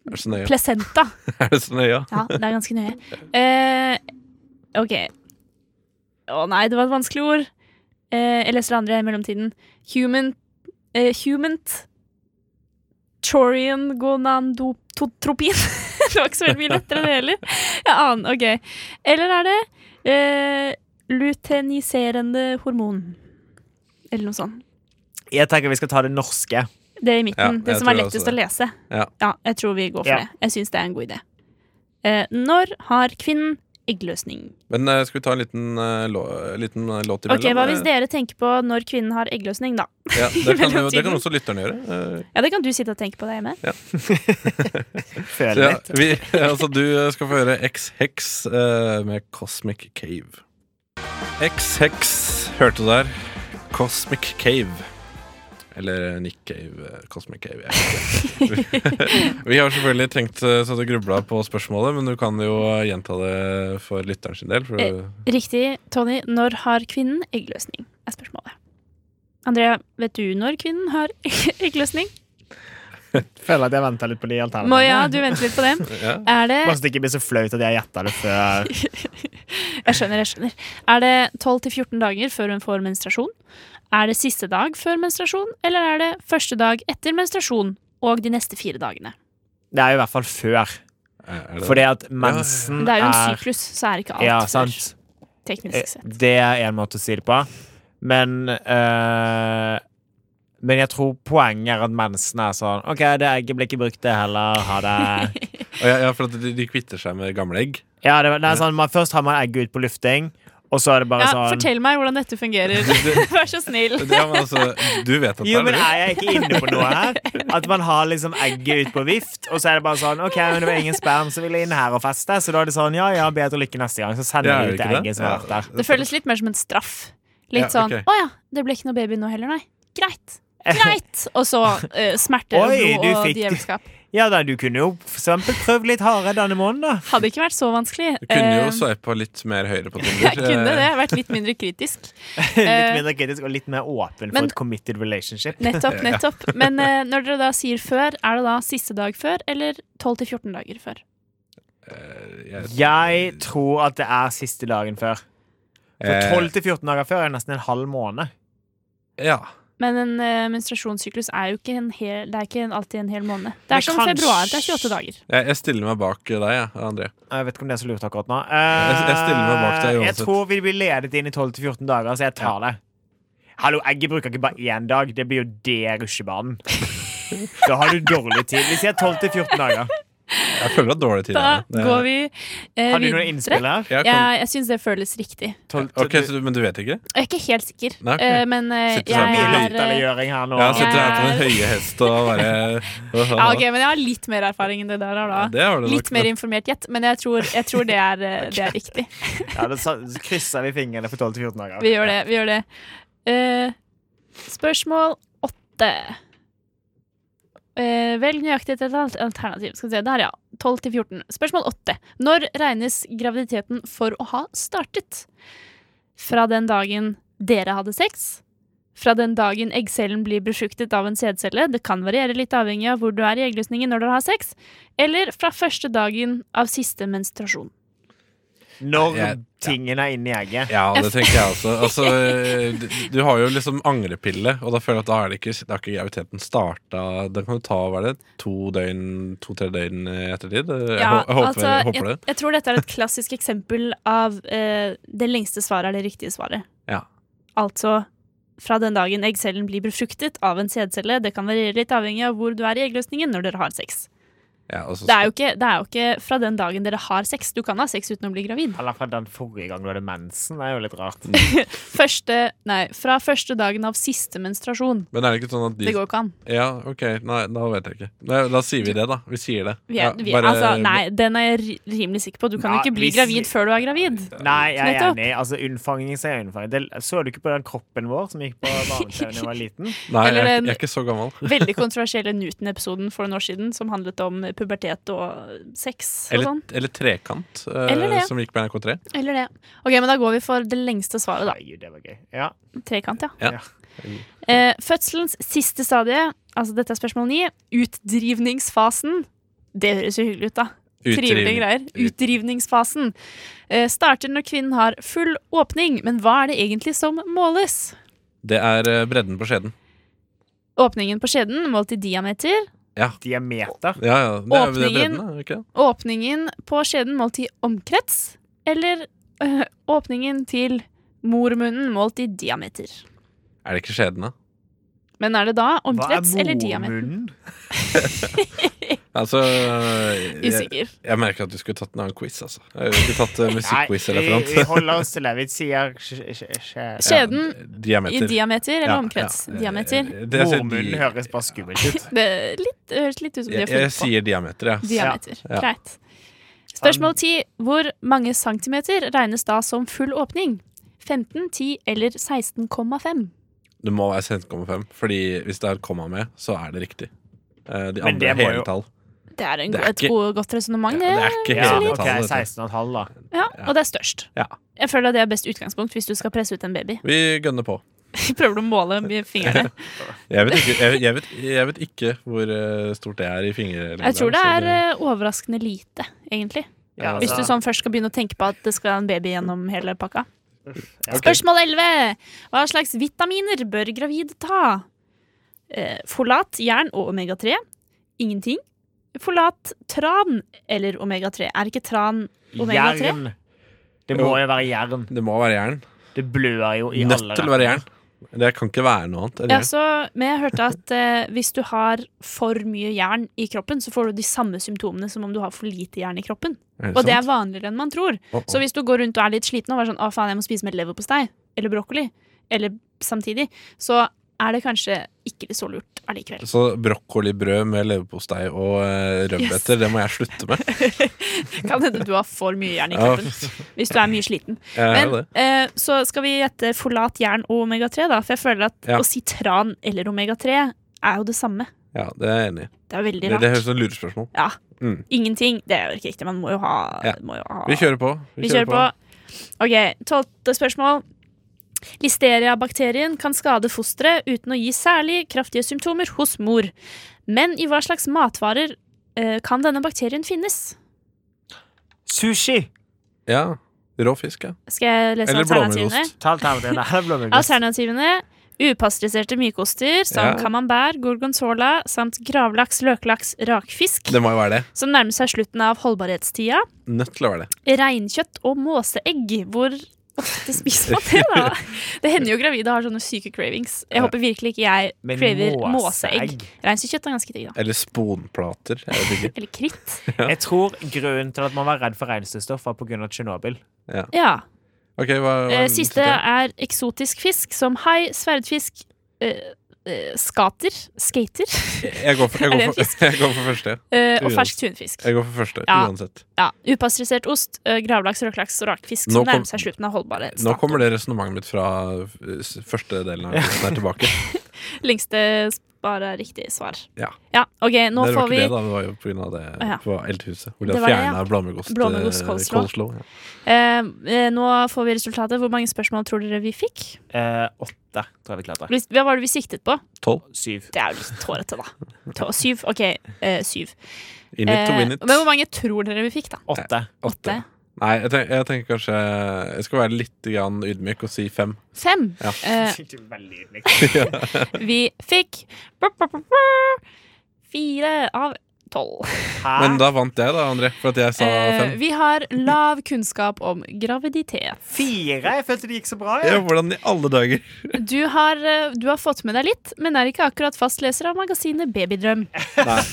er det så nøye. Placenta. [laughs] Er det så nøye? Ja, det er ganske nøye. Eh, OK. Å nei, det var et vanskelig ord. Eh, jeg leser det andre i mellomtiden. Human eh, Humant Chorion gonandotropin. [laughs] det var ikke så veldig mye lettere, det heller. Jeg aner, OK. Eller er det eh, luteniserende hormon? Eller noe sånt. Jeg tenker vi skal ta det norske. Det er i midten. Ja, det jeg som er tror også lettest det. å lese. Ja. jeg tror vi går for Ja. det. Jeg syns det er en god idé. Eh, når har kvinnen eggløsning? Men eh, skal vi ta en liten, eh, lå, liten eh, låt imellom? Ok, Hva Eh, hvis dere tenker på når kvinnen har eggløsning, da? Ja, [laughs] det, kan jo, det mellomtiden? kan også lytterne gjøre. Eh, Ja, Det kan du sitte og tenke på deg hjemme. så Føler ja, litt. vi, [laughs] altså, du eh, skal få høre X-Hex eh, med Cosmic Cave. X-Hex hørte du der. Cosmic Cave. Eller Nick Cave. eh, Cosmic Cave. Jeg [laughs] Vi har selvfølgelig tenkt eh, så du grubla på spørsmålet, men du kan jo eh, gjenta det for lytteren sin del. For Eh. Riktig, Tony. Når har kvinnen eggløsning? er spørsmålet. Andrea, vet du når kvinnen har [laughs] eggløsning? Føler at jeg venter litt på de alternativene. Moya, du venter litt på dem. [laughs] ja. Er det Bare så det ikke blir så flaut at jeg gjetta det før. Jeg skjønner, jeg skjønner. Er det 12-14 dager før hun får menstruasjon? Er det siste dag før menstruasjon, eller er det første dag etter menstruasjon og de neste fire dagene? Det er jo i hvert fall før. Er er det Fordi at mensen Det er jo en Mm, er syklus, så er ikke alt Ja, før, sant. Eh, teknisk sett. Det er en måte å si det på. Men eh, Men jeg tror poenget er at mensen er sånn OK, det egget ble ikke brukt, det heller. Ha [laughs] det. Og ja, ja, for at de, de kvitter seg med gamle egg. Ja, det, det er sånn, man, Først har man egget ut på lufting, og så er det bare Ja, sånn fortell meg hvordan dette [laughs] fungerer. [laughs] Vær så snill. Ja, men altså, du vet at det Jo, er men det. er jeg ikke inne på noe [laughs] her? At man har liksom egget ut på vift, og så er det bare sånn OK, men det var ingen sperm som ville inn her og feste, så da er det sånn ja, ja, bedre lykke neste gang. Så Det sender de er jo ut det ikke det. egget som har vært Ja. der. Det føles litt mer som en straff. Litt Ja, sånn ok. 'Å ja, det ble ikke noe baby nå heller, nei'. [laughs] Greit. Greit! Og så eh, smerter og Oi, blod du og fikk- djevelskap. Ja da, du kunne jo for eksempel prøvd litt hardere denne måneden, da. Hadde ikke vært så vanskelig. Du kunne jo Eh, sveipa litt mer høyre på Tinder. [laughs] jeg [laughs] kunne det. Vært litt mindre kritisk. [laughs] Litt Eh, mindre kritisk og litt mer åpen men- for et committed relationship. Nettopp, nettopp. Men eh, når dere da sier før, er det da siste dag før, eller 12-14 dager før? Eh, jeg- Jeg tror at det er siste dagen før. Eh, For 12 til 14 dager før er nesten en halv måned. Ja. Men en eh, menstruasjonssyklus er jo ikke, en hel, det er ikke en, alltid en hel måned. Det Men er som kanskje- februar, det er 28 dager. Jeg, jeg stiller meg bak deg, jeg, André. Jeg vet ikke om det er så lurt akkurat nå. jeg stiller meg bak deg Eh, Jeg uansett. tror vi blir ledet inn i 12 til 14 dager, så jeg tar det. Hallo, egget bruker ikke bare én dag. Det blir jo det rusjebanen. Da har du dårlig tid. Vi sier 12 til 14 dager. Jeg føler at dårlig tid Da er det. går vi eh, Har du noen innspill videre. her? Jeg Ja, kan, jeg syns det føles riktig. ok, så, du- Men du vet ikke? Jeg er ikke helt sikker, Nei, ok. eh, men eh, Sitter sånn sammen jeg med er eh, ja, Lytterliggjøring her nå. Jeg sitter her på jeg- den høye hest og bare [laughs] ok, men jeg har litt mer erfaring enn det der. har Da. Det har du nok. Litt mer informert gjett, men jeg tror, jeg tror det, er, eh, det er riktig. Ja, da sa- så krysser vi fingrene for 12 til 14 dager. Vi gjør det. vi gjør det Eh, Spørsmål åtte. Eh, velg nøyaktig et alt- alternativ. Skal vi se, Der, ja. 12 til 14. Spørsmål åtte. Når regnes graviditeten for å ha startet? Fra den dagen dere hadde sex? Fra den dagen eggcellen blir befruktet av en sædcelle? Det kan variere litt avhengig av hvor du er i eggløsningen når dere har sex. Eller fra første dagen av siste menstruasjon? når Jeg- tingen er inni egget. Ja, det tenker jeg også. Altså, du- du har jo liksom angrepille, og da føler jeg at da er det ikke, da er ikke graviditeten starta. Den kan du ta hva er det, to døgn, to-tre døgn i ettertid. Eh, Jeg, Ja, hå- jeg håper, altså, jeg håper jeg, det. jeg tror dette er et klassisk eksempel av eh, det lengste svaret er det riktige svaret. Ja. Altså fra den dagen eggcellen blir befruktet av en sædcelle. Det kan variere litt avhengig av hvor du er i eggløsningen når dere har sex. Ja, og så- Det er jo ikke, det er jo ikke fra den dagen dere har sex. Du kan ha sex uten å bli gravid. Eller fra den forrige gang du hadde mensen. Det er jo litt rart. Mm. Første, nei, fra første dagen av siste menstruasjon. men er det ikke sånn at Det de går jo ikke an. Ja, OK. Nei, da vet jeg ikke. Nei, da sier vi det, da. Vi sier det. Vi Ja, er, vi, bare- altså, nei, den er jeg ri- rimelig sikker på. Du kan Nei, ikke bli hvis- gravid før du er [laughs] gravid. Nei, jeg er Nettopp. enig. Altså, unnfanging sier unnfanging. Det, så du ikke på den kroppen vår som gikk på barne-TV da jeg var [laughs] liten? nei jeg, eller er ikke- en- jeg er ikke så gammel. Veldig kontroversielle Newton-episoden for noen år siden som handlet om pubertet og sex og Eller, sånn. eller Trekant, eh, Eller det, ja. som gikk på NRK3. Eller det. Ok, men da går vi for det lengste svaret, da. Herregud, det var gøy. Ja. Trekant, ja. Ja. Eh, fødselens siste stadie, altså dette er spørsmål ni, utdrivningsfasen. Det høres jo hyggelig ut, da. Trivelige Utdrivning. greier. Utdrivningsfasen eh, starter når kvinnen har full åpning, men hva er det egentlig som måles? Det er eh, bredden på skjeden. Åpningen på skjeden målt i diameter. Diameter. Ja, ja. Det er, det er Åpningen- bredden, er det ikke det? Åpningen på skjeden målt i omkrets, eller øh, åpningen til mormunnen målt i diameter. Er det ikke skjeden, da? Men er det da Hva er omkrets eller diameter? mormunnen? [laughs] Altså jeg, Usikker. jeg merker at du skulle tatt en annen quiz, altså. Jeg skulle tatt eh, Nei, vi, musikkquiz-referant. vi [laughs] holder oss til det. Vi sier skje- skje- skje- Skjeden i diameter. diameter eller Ja, omkrets? ja, eh, Diameter. eh, det- jeg sier Mormunnen di- høres bare skummelt [laughs] ut. Det, er litt, det høres litt ut som de Jeg, har jeg funnet på. sier diameter, ja. Diameter. Ja. Greit. Spørsmål 10. Hvor mange centimeter regnes da som full åpning? 15, 10 eller 16,5? Det må være 16,5, Fordi hvis det er et komma med, så er det riktig. Eh, De Men andre det er må jo- hele tall. Det er, en, Det er et ikke- gode, godt resonnement, Ja, det. det er ikke Ja, hele OK, tallet. dette. 16,5, da. Ja, og det er størst. Ja. Jeg føler det er best utgangspunkt hvis du skal presse ut en [laughs] baby. Vi gønner på. Prøver du å måle [laughs] med fingrene? Jeg vet ikke, jeg, jeg vet, jeg vet ikke hvor eh, stort det er i fingerlengde. Jeg tror det så er eh, overraskende lite, egentlig. Ja, Hvis altså- du sånn først skal begynne å tenke på at det skal være en baby gjennom hele pakka. Ja, ok. Spørsmål 11. Hva slags vitaminer bør gravide ta? Eh, folat, jern og omega-3. Ingenting. Folat, tran eller omega-3. Er ikke tran omega-3? Jern. Det må jo være jern. Det må være jern. Det blør jo i Nødt alle til å være retninger. jern. Det kan ikke være noe annet enn Ja, jern. så, men jeg hørte at eh, hvis du har for mye jern i kroppen, så får du de samme symptomene som om du har for lite jern i kroppen. Er Og det er sant? vanligere enn man tror. Å, å. Så hvis du går rundt og er litt sliten og er sånn 'Å, faen, jeg må spise mer leverpostei' eller brokkoli, eller samtidig, så er det kanskje ikke så lurt [laughs] allikevel. Så brokkolibrød med leverpostei og eh, rødbeter, det må jeg slutte med. [laughs] Kan hende du har for mye jern i Ja. kroppen hvis du er mye sliten. Jeg er Men det. eh, så skal vi gjette folat, jern og omega-3, da, for jeg føler at Ja. å si tran eller omega-3 er jo det samme. Ja, det er jeg enig i. Det er veldig Det, rart. det høres ut som et lurespørsmål. Ja. Mm. Ingenting. Det er jo ikke riktig. Man må jo ha, Ja. må jo ha. Vi kjører på. Vi kjører på. OK, tolvte spørsmål. Listeria-bakterien kan skade fosteret uten å gi særlig kraftige symptomer hos mor. Men i hva slags matvarer eh, kan denne bakterien finnes? Sushi! Ja. Rå fisk, ja. Skal jeg lese Eller alternativene? blåmuggost. Ta alternativene. Her er blåmuggost. Alternativene upasteuriserte mykoster som Ja. camembert, gorgonzola samt gravlaks, løklaks, rakfisk, Det må jo være det. som nærmer seg slutten av holdbarhetstida. Nødt til å være det. reinkjøtt og måseegg. Hvor ofte spiser man det, [laughs] da? Det hender jo gravide har sånne syke cravings. Jeg håper virkelig ikke jeg Men craver måseegg? måseegg. Reinsdyrkjøtt er ganske digg, da. Eller sponplater. Jeg vet ikke. Eller kritt. Jeg tror grunnen til at man var redd for reinsdyrstoff, var pga. Tsjernobyl. Ja. Ok, hva, hva Eh, Siste er eksotisk fisk som hai, sverdfisk, eh, eh, skater, skater [laughs] Jeg går for, jeg Er går det en for, [laughs] fisk? jeg går for første. eh, og Uansett. fersk tunfisk. Jeg går for første, Ja. uansett. Ja. Upasteurisert ost, eh, gravlaks, rødlaks og rakfisk Nå som kom- nærmer seg slutten av holdbarhet. Nå kommer det resonnementet mitt fra eh, s- første delen av quizen her tilbake. Lengste bare riktig svar. Ja. ja ok, [laughs] nå det får var ikke vi det, da. Det var jo på grunn av det Ja. på Elthuset. Hvor de Det har var det, ja. fjerna blåmuggost. eh, Blåmuggost-coleslaw. coleslaw, ja. Eh, eh, nå får vi resultatet. Hvor mange spørsmål tror dere vi fikk? Eh, åtte, tror jeg vi klarte. Hvis- Hva var det vi siktet på? Tolv. Syv. Det er jo litt hårete, da. To, syv. OK, eh, syv. In it to Eh, win men it. hvor mange tror dere vi fikk, da? Åtte. Åtte. Åtte? Nei, jeg, tenk, jeg tenker kanskje Jeg skal være litt grann ydmyk og si fem. Fem. Ja. Eh, Veldig ydmyk. vi fikk fire av tolv. Hæ? Men da vant jeg, da, André, for at jeg sa Eh, fem. vi har lav kunnskap om graviditet. Fire? Jeg følte det gikk så bra. Ja, Jeg. hvordan i alle dager? Du har, eh, du har fått med deg litt, men er ikke akkurat fastleser av magasinet Babydrøm. Nei,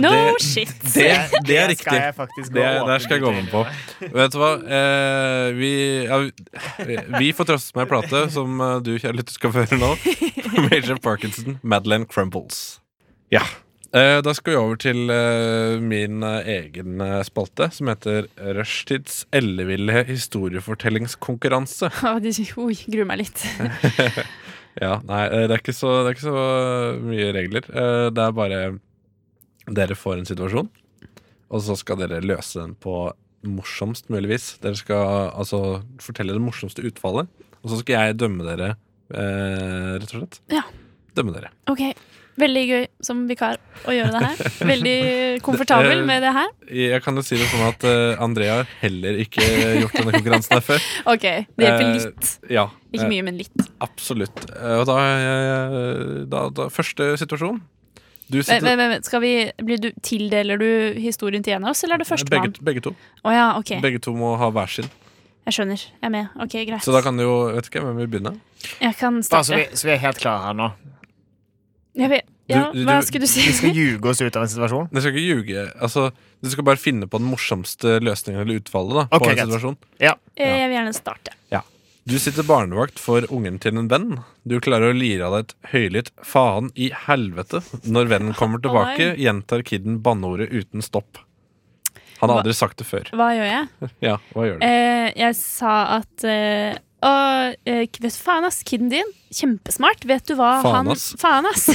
No shit! det, det er Skal riktig. jeg faktisk Det, gå åpent der skal jeg gå med på. Vet du hva? Eh, vi, ja, vi får trøstes med en plate som eh, du, kjære lytter, skal få høre nå. [laughs] Major Parkinson, Madeleine Crumbles. Ja. Eh, da skal vi over til eh, min eh, egen eh, spalte, som heter Rushtids elleville historiefortellingskonkurranse. Å, det- Oi, gruer meg litt. Ja, nei, eh, det er ikke så, det er ikke så mye regler. Eh, Det er bare Dere får en situasjon, og så skal dere løse den på morsomst mulig vis. Dere skal altså fortelle det morsomste utfallet, og så skal jeg dømme dere, eh, rett og slett. Ja. Dømme dere. Ok, Veldig gøy som vikar å gjøre det her. Veldig komfortabel med det her. Jeg kan jo si det sånn at eh, Andrea har heller ikke gjort denne konkurransen her før. Ok, Det hjelper Eh, litt. Ja, Ikke eh, mye, men litt. Absolutt. Eh, Og da, eh, da, da Første situasjon. Du Vent, vent, vent, skal vi, blir du, tildeler du historien til en av oss, eller er det førstemann? begge, begge to. Å ja, ok. Begge to må ha hver sin. Jeg skjønner. Jeg er med. Ok, Greit. Så da kan du jo Vet ikke hvem vil begynne? Jeg kan Bare så starte. vi, så vi er helt klare her nå. Jeg vet, ja, Du- du- hva skulle du si? Vi skal ljuge oss ut av en situasjon. Du skal ikke ljuge. Altså, du skal bare finne på den morsomste løsningen eller utfallet. da Ok, på en greit. situasjon Eh, Jeg vil gjerne starte. Du sitter barnevakt for ungen til en venn. Du klarer å lire av deg et høylytt 'faen i helvete'. Når vennen kommer tilbake, gjentar kiden banneordet uten stopp. Han har Hva- aldri sagt det før. Hva gjør jeg? Ja, hva gjør du? Eh, jeg sa at eh, å, eh, vet du faen ass, kiden din Kjempesmart, vet du hva Faen, han ass. [laughs] Faen ass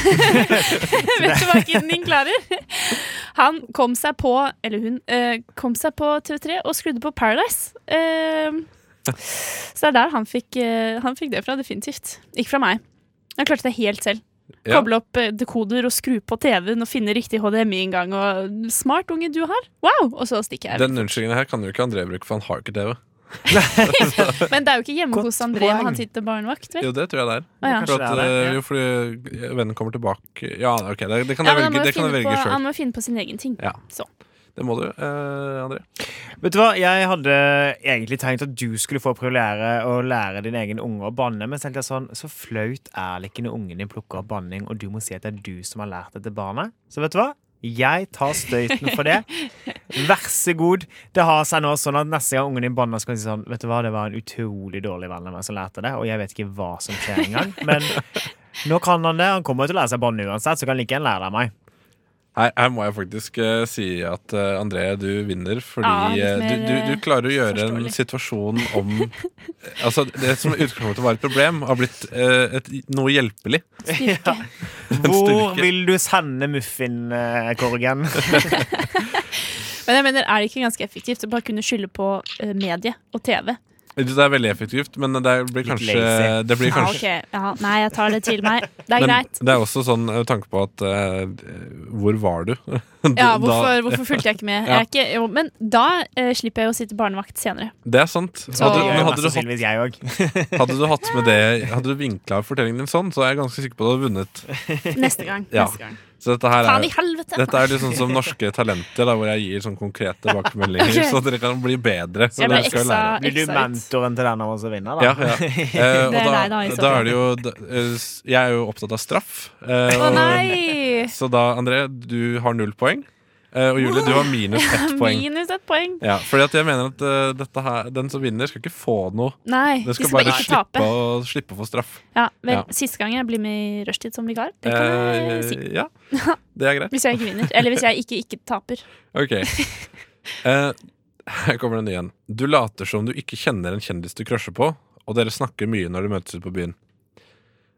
Vet du hva kiden din klarer? Han kom seg på, eller hun eh, Kom seg på TV3 og skrudde på Paradise eh, Så det er der han fikk, eh, han fikk det fra definitivt Ikke fra meg Han klarte det helt selv Ja. Koble opp eh, dekoder og skru på TV-en Og finne riktig HDMI-inngang Og smart unge du har, wow Og så stikker jeg Den unnskyldningen her kan jo ikke André bruke, for han har ikke TV. Men det er jo ikke hjemme Godt hos André når poeng. han sitter barnevakt, vel? Jo, det tror jeg det er. Å, ja. For Kanskje at, det er det, eh, ja. jo, fordi eh, vennen kommer tilbake Ja, ok, det, det kan Ja, jeg men han må velge, det kan jo jeg finne velge på- sjøl. Han må finne på sin egen ting. Ja. Så. Det må du, eh, André. Vet du hva, Jeg hadde egentlig tenkt at du skulle få privilegere å lære din egen unge å banne, men så tenkte jeg sånn, så flaut er det ikke når ungen din plukker opp banning, og du må si at det er du som har lært det til barnet. Så vet du hva? Jeg tar støyten for det. Vær så god. Det har seg nå sånn at Neste gang ungen din banner, skal han si sånn Vet du hva, det var en utrolig dårlig venn av meg som lærte det, og jeg vet ikke hva som skjer engang. Men nå kan han det. Han kommer til å lære seg å banne uansett, så kan han like gjerne lære det av meg. Her, her må jeg faktisk eh, si at eh, André, du vinner fordi Ja, litt eh, du, mer, du, du klarer å gjøre en forståelig. situasjon om Altså, det som i utgangspunktet var et problem, har blitt eh, et, noe hjelpelig. [laughs] Styrke. Hvor styrke. vil du sende muffinkorgen? Men jeg mener, er det ikke ganske effektivt å bare kunne skylde på eh, medie og TV? Det er veldig effektivt, men det blir Litt kanskje, lazy. [laughs] det blir Ja, kanskje ok. Ja, nei, jeg tar det til meg. Det er Men greit. det er også sånn eh, tanke på at eh, Hvor var du? [laughs] Ja, Da- hvorfor, hvorfor fulgte jeg ikke med? Jeg er ikke, jo, men da eh, slipper jeg å sitte barnevakt senere. Det er sant. Så- Hadde, Det men hadde, gjør du hatt, sannsynligvis jeg òg. hadde du hatt med det Hadde du vinkla fortellingen din sånn, så er jeg ganske sikker på at du hadde vunnet. Neste gang. Ja. Neste gang. Så dette her Faen er i helvete! Dette er litt sånn som norske talenter, da, hvor jeg gir sånn konkrete tilbakemeldinger. [laughs] Ok. Så dere kan bli bedre. Så jeg ble dere skal ekstra, lære. Blir du ekstra ut. mentoren til den av oss som vinner, da? Ja, [laughs] ja. Eh, og Det er da, deg da, i så da fall. er det jo da, eh, s- Jeg er jo opptatt av straff. eh, Å og- nei! Så da, André, du har null poeng. eh, Og Julie, du har minus [laughs] ett poeng. Minus ett poeng. Ja, fordi at jeg mener at eh, dette her, den som vinner, skal ikke få noe. Nei, Den skal vi skal bare bare ikke slippe tape. å, slippe å få straff. Ja, vel, Ja. Siste gang jeg blir med i rushtid som vikar. Det kan jeg si. Eh, ja, det er greit. Hvis jeg ikke vinner. Eller hvis jeg ikke ikke taper. [laughs] Ok Eh, Her kommer den igjen Du later som du ikke kjenner en kjendis du krasjer på Og dere snakker mye når du møtes ute på byen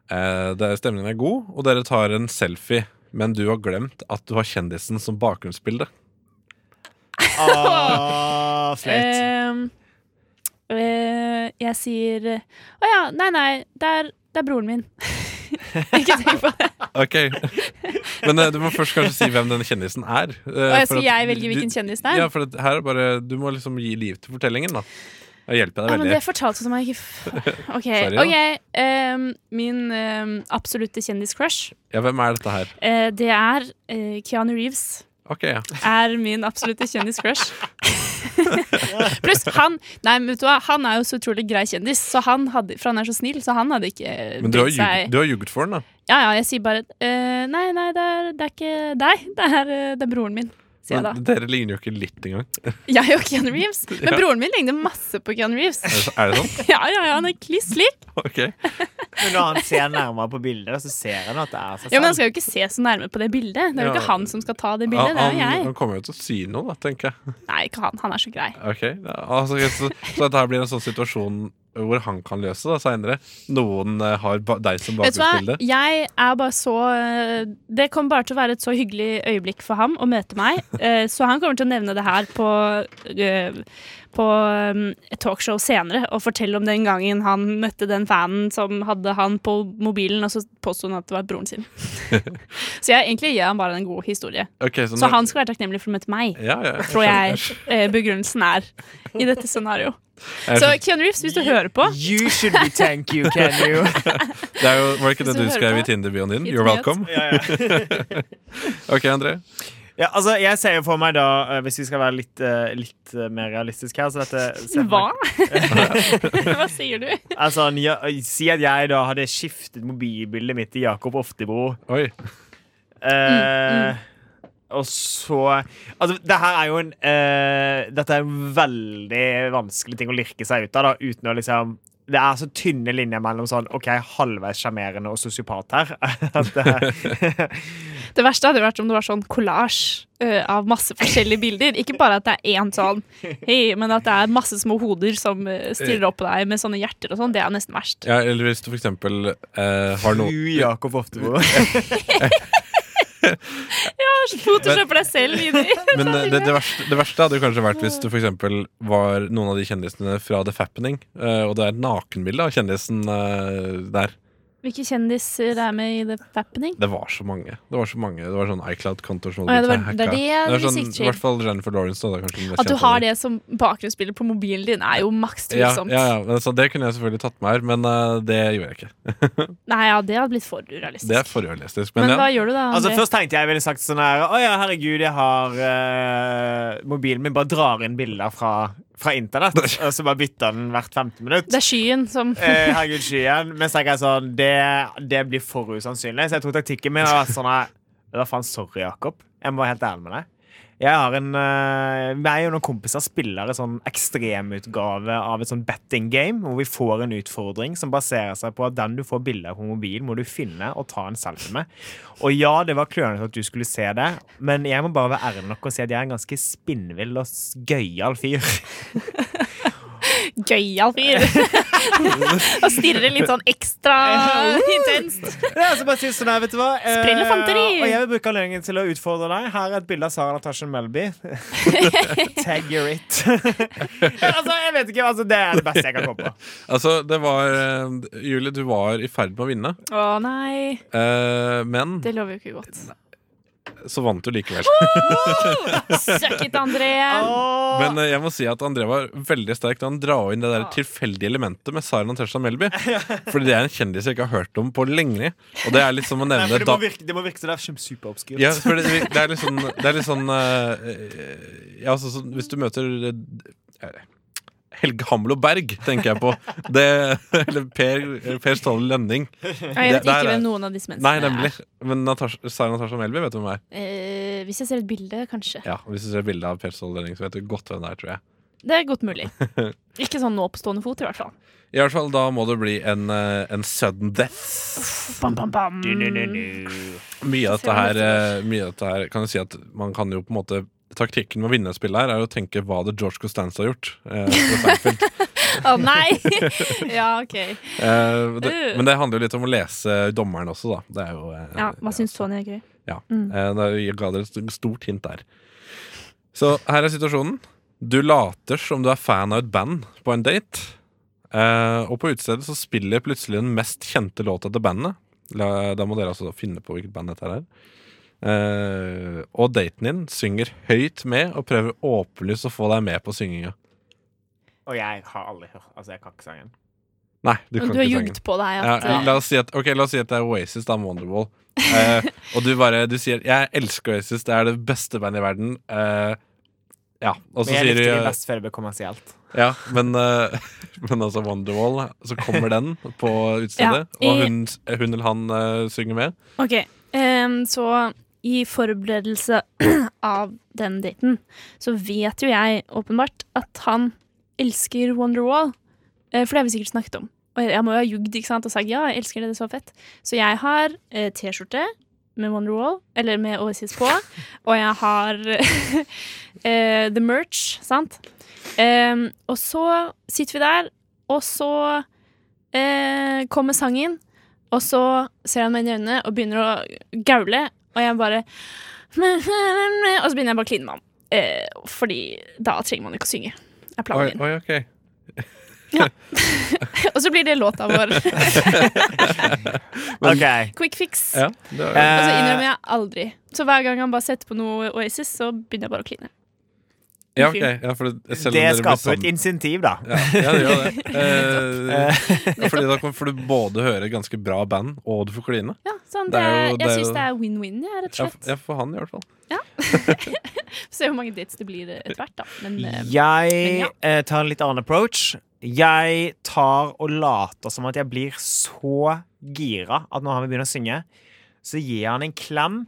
Eh, der Stemningen er god Og dere tar en selfie Men du har glemt at du har kjendisen som bakgrunnsbilde Ah, [laughs] Åh, Flaut. Ehm, eh, jeg sier Å ja, [laughs] nei, nei, det er, det er broren min. ikke tenk på det. Ok Men eh, du må først kanskje si hvem den kjendisen er. eh, Og jeg for sier at jeg velger du- hvilken kjendis det er. Ja, for at her er bare Du må liksom gi liv til fortellingen, da. Jeg hjelper deg Ja, men det veldig. fortalte du meg ikke f- [laughs] OK. Sorry, da. ok, ehm, min ehm, absolutte kjendiscrush, Ja, hvem er dette her? eh, det er eh, Keanu Reeves. Ok, [laughs] ja. Er min absolutte kjendiscrush. Pluss han Nei, men vet du hva, han er jo så utrolig grei kjendis, så han hadde, for han er så snill, så han hadde ikke eh, Men du har brydd seg ljug- du har ljuget for den, da. Ja, ja, jeg sier bare eh, Nei, nei, det er, det er ikke deg. Det er, eh, det er broren min, sier jeg da. Men Dere ligner jo ikke litt engang. Jeg og Keanu Reeves. Men Ja. broren min ligner masse på Keanu Reeves. [laughs] Er det, er det sånn? Ja, ja, ja, han er kliss lik. Ok. Men når han ser nærmere på bildet, da, så ser han at det er seg Ja, men Han selv. skal jo ikke se så nærme på det bildet. Det er jo Ja. ikke han som skal ta det bildet. Han, Det er jo han, jeg. han kommer jo til å si noe, da, tenker jeg. Nei, ikke han. Han er så grei. Ok, ja, altså, så, så dette her blir en sånn situasjon hvor han kan løse det seinere. Noen eh, har ba deg som Vet du hva? bakgrunnsbilde. Jeg er bare så øh, Det kommer bare til å være et så hyggelig øyeblikk for ham å møte meg. Eh, Så han kommer til å nevne det her på, øh, på øh, et talkshow senere og fortelle om den gangen han møtte den fanen som hadde han på mobilen, og så påsto han at det var broren sin. [laughs] Så jeg egentlig gir han bare en god historie. Ok, så Så nå- han skal være takknemlig for å møte meg. ja, ja, jeg Tror jeg skjønner. eh, begrunnelsen er i dette scenarioet. Jeg Så skjønner. Keanu Reeves, hvis du hører på You should be thank you, can you? Det er jo, var det ikke det Hvis du du hører skrev på, i Tinder-bioen din? hit You're me welcome. [laughs] ok, André. Ja, altså, jeg ser jo for meg da, eh, hvis vi skal være litt, eh, litt eh, mer realistisk her så dette, ser jeg for meg- Hva? Hva [laughs] sier du? Altså, han ja, si at jeg da hadde skiftet mobilbildet mitt til Jakob Oftebro. Oi. Eh, Og så Altså, det her er jo en eh, Dette er en veldig vanskelig ting å lirke seg ut av, da, uten å liksom det er så tynne linjer mellom sånn OK, halvveis sjarmerende og sosiopat her. [laughs] At, eh, Det verste hadde vært om det var sånn kollasj eh, av masse forskjellige bilder. Ikke bare at det er én sånn, hei, men at det er masse små hoder som eh, stirrer opp på deg med sånne hjerter og sånn. Det er nesten verst. Ja, eller hvis du for eksempel eh, har noe Fru Jakob Oftebro. [laughs] Photoshopper deg selv inn i [laughs] Men eh, det, det, verste, det verste hadde jo kanskje vært hvis du for eksempel var noen av de kjendisene fra The Fappening, eh, og det er et nakenbilde av kjendisen eh, der. Hvilke kjendiser er med i The Fappening? Det var så mange. Det var så mange Det var sånn iCloud-kontor som Å, ja, det var- blitt det er hacka. det jeg var blir sånn, sikkert I hvert fall Jennifer Lawrence. Da, det er kanskje den mest At du kjente av har dem. det liksom. som bakgrunnsbilde på mobilen din, er jo maks Ja, tvilsomt. ja, ja. men Så det kunne jeg selvfølgelig tatt med her, men eh, det gjorde jeg ikke. Nei, ja, det hadde blitt for urealistisk. Det er for realistisk. Men, men hva ja. gjør du da? Altså André? Først tenkte jeg ville sagt sånn her Å ja, herregud, jeg har eh, mobilen min bare drar inn bilder fra, fra internett, og så bare bytter den hvert femte minutt. Det er skyen som Eh, herregud, skyen. Men så tenker jeg sånn det, det blir for usannsynlig. Så jeg tror taktikken min har vært sånn her Hva faen, sorry, Jakob. Jeg må være helt ærlig med deg. Jeg har en eh, Jeg og noen kompiser spiller en sånn ekstremutgave av et sånn betting game, hvor vi får en utfordring som baserer seg på at den du får bilder på mobilen, må du finne og ta en selfie med. Og ja, det var klønete at du skulle se det, men jeg må bare være ærlig nok og si at jeg er en ganske spinnvill og s- gøyal fyr. [laughs] gøyal [laughs] fyr. [laughs] og stirrer litt sånn ekstra intenst. Ja, så bare si sånn her, vet du hva eh, Sprell og fanteri! Og jeg vil bruke anledningen til å utfordre deg Her er et bilde av Sara Natasha [laughs] Melby Tag your it Altså, jeg vet ikke, altså, det er det beste jeg kan komme på Altså, det var eh, Julie, du var i ferd med å vinne, Å nei, eh, men det lover jo ikke godt. så vant du likevel. Suck it, André! Åh, [laughs] Men eh, jeg må si at André var veldig sterk da han drar inn det der tilfeldige elementet med Saren og Tesha [laughs] Melby. Fordi det er en kjendis jeg ikke har hørt om på lenge. Og det er litt som å Nei, nevne for det, da må virke, det må virke så det er som superobskurt Ja, for det, det er litt sånn, det er litt sånn eh, ja, altså, sånn, Hvis du møter eh, Helge Hamlo Berg, tenker jeg på. Det, eller Per, eh, per Ståle Lønning. Jeg vet Det- der ikke er- hvem noen av disse Nei, menneskene nemlig. Men Natasha, Sara Natasha Melby vet du hvem er. er. Eh, hvis jeg ser et bilde, kanskje. Ja, og Hvis du ser bilde av Per Ståle Lønning, så vet du godt hvem det er. tror jeg Det er godt [laughs] mulig. Ikke sånn nå på stående fot, i hvert fall. I hvert fall, Da må det bli en, eh, en sudden death. Bam, bam, bam. Mye av dette her, eh, mye av dette her kan du si at man kan jo på en måte Taktikken med å vinne et spill her er å tenke hva det George Costanza har gjort. Eh, fra Seinfeld. Å nei! [laughs] ja, OK. Eh, det, Øh. men det handler jo litt om å lese dommeren også, da. Det er jo, eh, Ja, hva syns Tony er gøy? Ja. Mm. Eh, da jeg ga dere et stort hint der. Så her er situasjonen. Du later som du er fan av et band på en date. Eh, og på utestedet så spiller plutselig den mest kjente låta til bandet. La, da må dere altså finne på hvilket band dette her er. Eh, og daten din synger høyt med og prøver åpenlyst å få deg med på synginga. Og jeg har aldri hørt Altså, jeg kan ikke sangen. Nei, du kan Du ikke har sangen. jugd på deg Ja, at la, oss si at, ok, la oss si at det er Oasis, da, med Wonderwall. [laughs] Eh, og du bare du sier 'Jeg elsker Oasis, det er det beste bandet i verden'. Eh, ja, og Men så jeg sier du likte det eh, best før det ble kommersielt. Ja, men, eh, [laughs] men altså Wonderwall, så kommer den på utstedet, Ja, og i- hun, hun eller han eh, synger med. Ok, ehm, så i forberedelse [clears throat] av den daten, så vet jo jeg åpenbart at han elsker Wonderwall. eh, For det har vi sikkert snakket om. Og jeg- jeg må jo ha jugd ikke sant, og sagt ja, jeg elsker det, det er så fett. Så jeg har eh, T-skjorte med Wonderwall, eller med Oasis på, og jeg har [laughs] eh, The Merch, sant? Ehm, og så sitter vi der, og så eh, kommer sangen, og så ser han meg inn i øynene og begynner å gaule, og jeg bare [laughs] Og så begynner jeg bare å kline med ham. Eh, fordi da trenger man ikke å synge. er Oi, planen min. oi, ok Og så blir det [laughs] låta vår. Men- OK. Quick fix. Ja, det var- Og så Eh, innrømmer jeg aldri. Så hver gang han bare setter på noe Oasis, så begynner jeg bare å kline. ja, ok, ja, for det- selv det om dere blir skaper sammen- et insentiv, da. sånn- Ja, ja, det gjør [laughs] det. Eh, ja, fordi da kan- får du både høre ganske bra band, og du får kline. Ja, Det sånn, er det er, jo- det jeg er syns jo- det er win-win, jeg, rett og Ja, f- slett. ja, for han i hvert fall. Se hvor mange dates det blir etter hvert, da. Men eh, Jeg ja. eh, tar en litt annen approach. Jeg tar og later som at jeg blir så gira at når han vil begynne å synge, så gir jeg han en klem.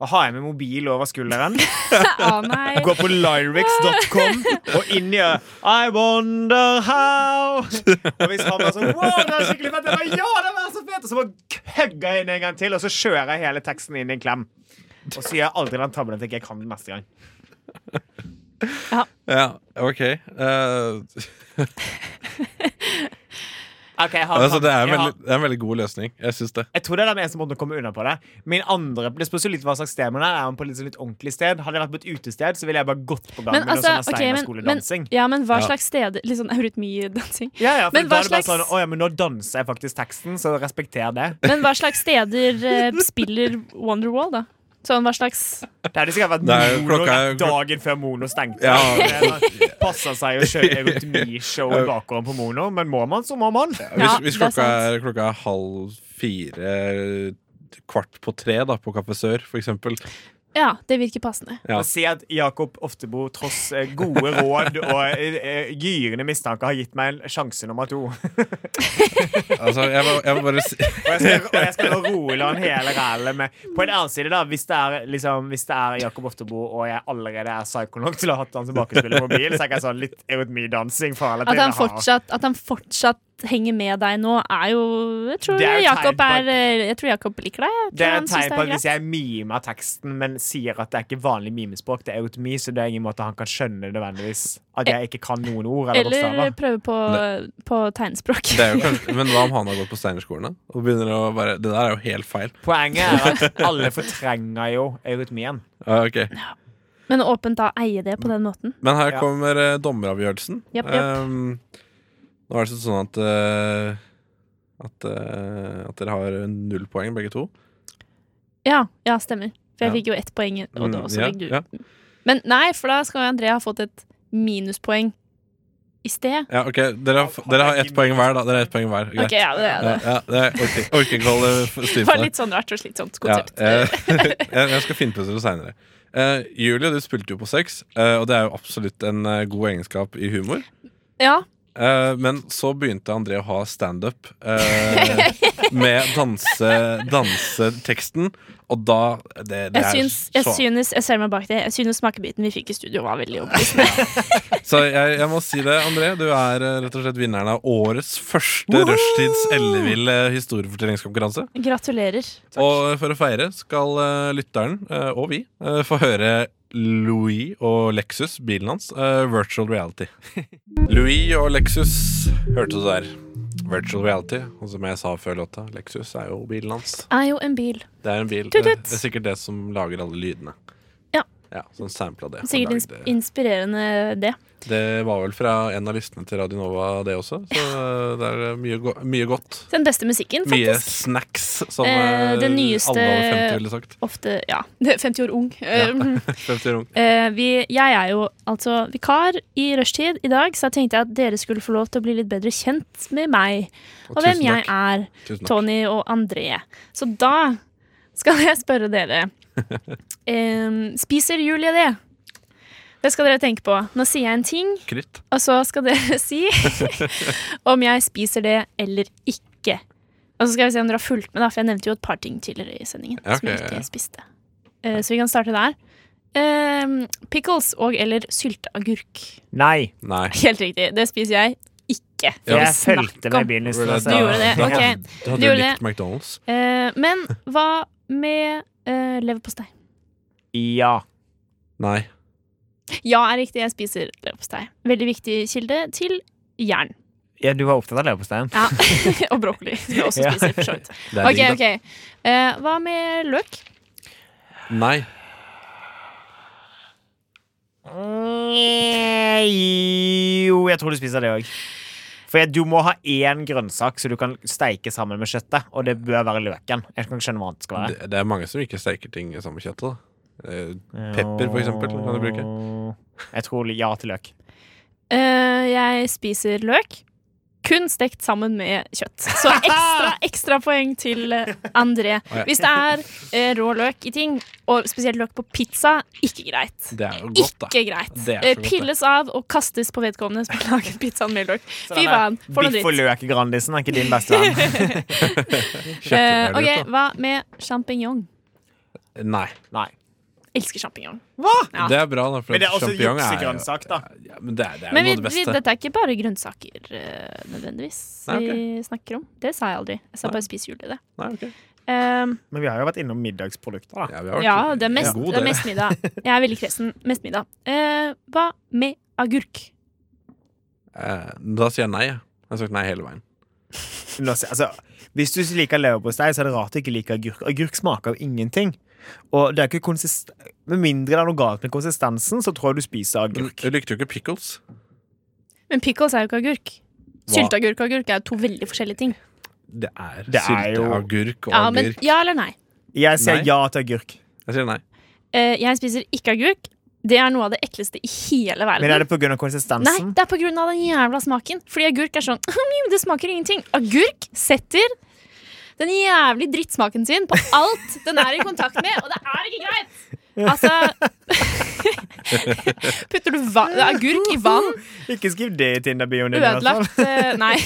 Og har jeg med mobil over [laughs] skulderen. å ah, nei. Gå på lyrics.com og inn i I wonder how Og hvis han var sånn Wow, det er skikkelig fett! Jeg bare, ja, det var så fett! Og så bare hugger jeg inn en gang til, og så kjører jeg hele teksten inn i en klem. Og så gjør jeg aldri den tabben til jeg kan den neste gang. Ja, ok. Eh, Ok, jeg har altså, en det, er en tanke. Jeg har- veldig, det er en veldig god løsning. Jeg syns det. Jeg tror det er den eneste måten å komme unna på det. Min andre, Det spørs jo litt hva slags sted man er. Er man på litt, sånn litt ordentlig sted? Hadde jeg vært på et utested, så ville jeg bare gått på gangen Men altså, og sånn ok, men, men, skoledansing. ja, men hva Ja. slags steder? Litt sånn eurytmidansing. ja, ja, for men da hva er det bare slags- sånn Å ja, men nå danser jeg faktisk teksten, så respekter det. Men hva slags [laughs] steder eh, spiller Wonderwall, da? Sånn, hva slags Det hadde sikkert vært Det er jo- mono klokka er rett jo- dagen før mono stengte. Ja. Det Passa seg å [laughs] kjøre eurytmishow i bakgården på mono, men må man, så må man. Hvis, Ja, hvis det klokka, er er, klokka er halv fire, kvart på tre da, på Café Sør, for eksempel Ja, det virker passende. Ja. Å se at Jakob Oftebo tross eh, gode råd og eh, eh, gyrende mistanker har gitt meg en sjanse nummer to. altså, jeg, må, jeg må bare si Og jeg skal, [laughs] og jeg skal roe han hele rælet med På en annen side, da, hvis det er, liksom, hvis det er Jakob Oftebo og jeg allerede er psycho nok til å ha hatt han som bakespiller på bil, så er jeg sånn litt eurytmidansing for alle At til å han, ha. fortsatt, at han fortsatt henger med deg nå, er jo Jeg tror Det er jo tegn Jakob på at- er eh, Jeg tror Jakob liker deg. Jeg tror Det er han et synes tegn på at greit. hvis jeg mimer teksten, men sier at det er ikke vanlig mimespråk, det er eurytmi, så det er ingen måte han kan skjønne nødvendigvis at jeg ikke kan noen ord eller Eller bokstaver. prøve på, [laughs] på tegnspråk. det er jo kanskje, Men hva om han har gått på Steinerskolen, da? Og begynner å bare Det der er jo helt feil. Poenget er at alle fortrenger jo eurytmien. Ja, ok. [laughs] Men åpent da eie det på den måten. Men her Ja. kommer eh, dommeravgjørelsen. Japp, japp. Ehm, nå er det sånn at eh, at, eh, at dere har null poeng, begge to. Ja, ja stemmer. For jeg Ja. fikk jo ett poeng, og da også ja, fikk du. ja. Men nei, for da skal jo André ha fått et minuspoeng i sted. Ja, ok, Dere har, f- dere har ett poeng hver, da. Dere har ett poeng hver. Greit. Ok, ja, det er Ja, det. ja, det er- orker, orker ikke holde styr [laughs] på Det var det. litt sånn rart og slitsomt Ja, konsept. eh, [laughs] jeg, jeg skal finne på det seinere. Uh, Julie, du spilte jo på sex, eh, og det er jo absolutt en eh, god egenskap i humor. Ja, Eh, men så begynte André å ha standup uh, [laughs] med danse, danseteksten, og da det, det jeg er syns, jeg, så, synes, jeg ser meg bak det. Jeg synes smakebiten vi fikk i studio, var veldig overbevisende. så jeg, jeg må si det, André. Du er eh, rett og slett vinneren av årets første rushtids elleville historiefortellingskonkurranse. Gratulerer. Og for å feire skal eh, lytteren, eh, og vi, eh, få høre Louis og Lexus, bilen hans, eh, virtual [laughs] reality. Louis og Lexus hørte du der. Virtual reality, og som jeg sa før låta, Lexus er jo bilen hans. Er jo en bil. Det er en bil. Tut, tut. Det er sikkert det som lager alle lydene. Ja. Ja, sånn sampla det. og Sikkert ins lagde- inspirerende, det. Det var vel fra en av listene til Radio Nova, det også. Så eh, det er mye, go mye godt. Den beste musikken, Mye faktisk. snacks, som Eh, eh, det nyeste- alle over 50 ville sagt. Ofte, ja. [laughs] 50 år ung. Eh, 50 år ung. Eh, vi, jeg er jo altså vikar i rushtid i dag, så jeg tenkte at dere skulle få lov til å bli litt bedre kjent med meg og, tusen hvem jeg takk. er. Tusen takk. Tony og André. Så da skal jeg spørre dere. [laughs] Em, spiser Julie det? Det skal dere tenke på. Nå sier jeg en ting, Kritt. og så skal dere [laughs] [laughs] si om jeg spiser det eller ikke. Og så skal vi se om dere har fulgt med, da, for jeg nevnte jo et par ting tidligere i sendingen. Ja, som jeg ok, ja, ikke ja. spiste. Eh, så vi kan starte der. Em, pickles og eller sylteagurk. [laughs] Nei. Nei. Helt riktig, det spiser jeg ikke. For jeg Snakk fulgte med i om. begynnelsen. Hvor er altså. [laughs] det Du gjorde det, Da ok. hadde- da Hadde Du du gjorde likt McDonald's? Eh, men hva med eh, leverpostei? Ja. Nei. Ja er riktig, jeg spiser leverpostei. Veldig viktig kilde til jern. ja, du var opptatt av leverposteien. Ja. [laughs] og brokkoli, som jeg også Ja. spiser. for så vidt. Det er Ok, digg, ok. Eh, hva med løk? da. Nei. Nei, Jo, jeg tror du spiser det òg. For du må ha én grønnsak så du kan steike sammen med kjøttet. Og det bør være løken. Jeg kan ikke skjønne hva annet skal være. Det, det er mange som ikke steker ting sammen med kjøttet. da. Eh, Pepper, for eksempel, kan du bruke. Jeg tror ja til løk. Eh, jeg spiser løk. Kun stekt sammen med kjøtt. Så ekstra, [laughs] ekstra poeng til eh, André. ja. Hvis det er eh, rå løk i ting, og spesielt løk på pizza, ikke greit. Det er jo godt, da. Ikke greit. Det er så Eh, godt, det. Pilles av og kastes på vedkommende som har laget pizzaen med løk. Fy faen, for noe Biff og dritt. løk-Grandisen er ikke din beste [laughs] venn. Eh, Kjøttet er ok, godt, Hva med sjampinjong? da. Nei. Nei. Elsker sjampinjong. Ja. Det er bra, da, for Men det er også sjampinjong er jo juksegrønnsak, da. ja, men det er, det er noe Men vi, av det vi, beste. dette er ikke bare grønnsaker eh, nødvendigvis Nei, ok. vi snakker om. Det sa jeg aldri. Jeg sa bare spis jul i det. Nei, ok. Ehm, Men vi har jo vært innom middagsprodukter, da. ja, vi har vært- ja, det er, mest, God, det er mest middag. Jeg er veldig kresen. Mest middag. Eh, hva med agurk? Eh, da sier jeg nei. jeg. Jeg har sagt nei hele veien. Nå se- Altså, hvis du ikke liker leverpostei, så er det rart du ikke liker agurk. Agurk smaker jo ingenting. Og det er ikke konsist... Med mindre det er noe galt med konsistensen, så tror jeg du spiser Men agurk. du likte jo ikke pickles. Men pickles er jo ikke agurk. Hva? Sylteagurk og agurk er jo to veldig forskjellige ting. Det er, Det er jo- sylteagurk og Ja, men agurk. ja eller Mm. nei. Jeg sier Nei. ja til agurk. Jeg sier nei. Eh, jeg spiser ikke agurk. Det er noe av det ekleste i hele verden. Men er det pga. Nei, konsistensen? det er på grunn av den jævla smaken. Fordi agurk er sånn [laughs] «Mm, Det smaker ingenting. Agurk setter den jævlig drittsmaken sin på alt den er i kontakt med, og det er ikke greit! Altså [laughs] Putter du va agurk i [laughs] vann, Ikke skriv det i Tinder-bioen din. i hvert fall. ødelagt eh, Nei.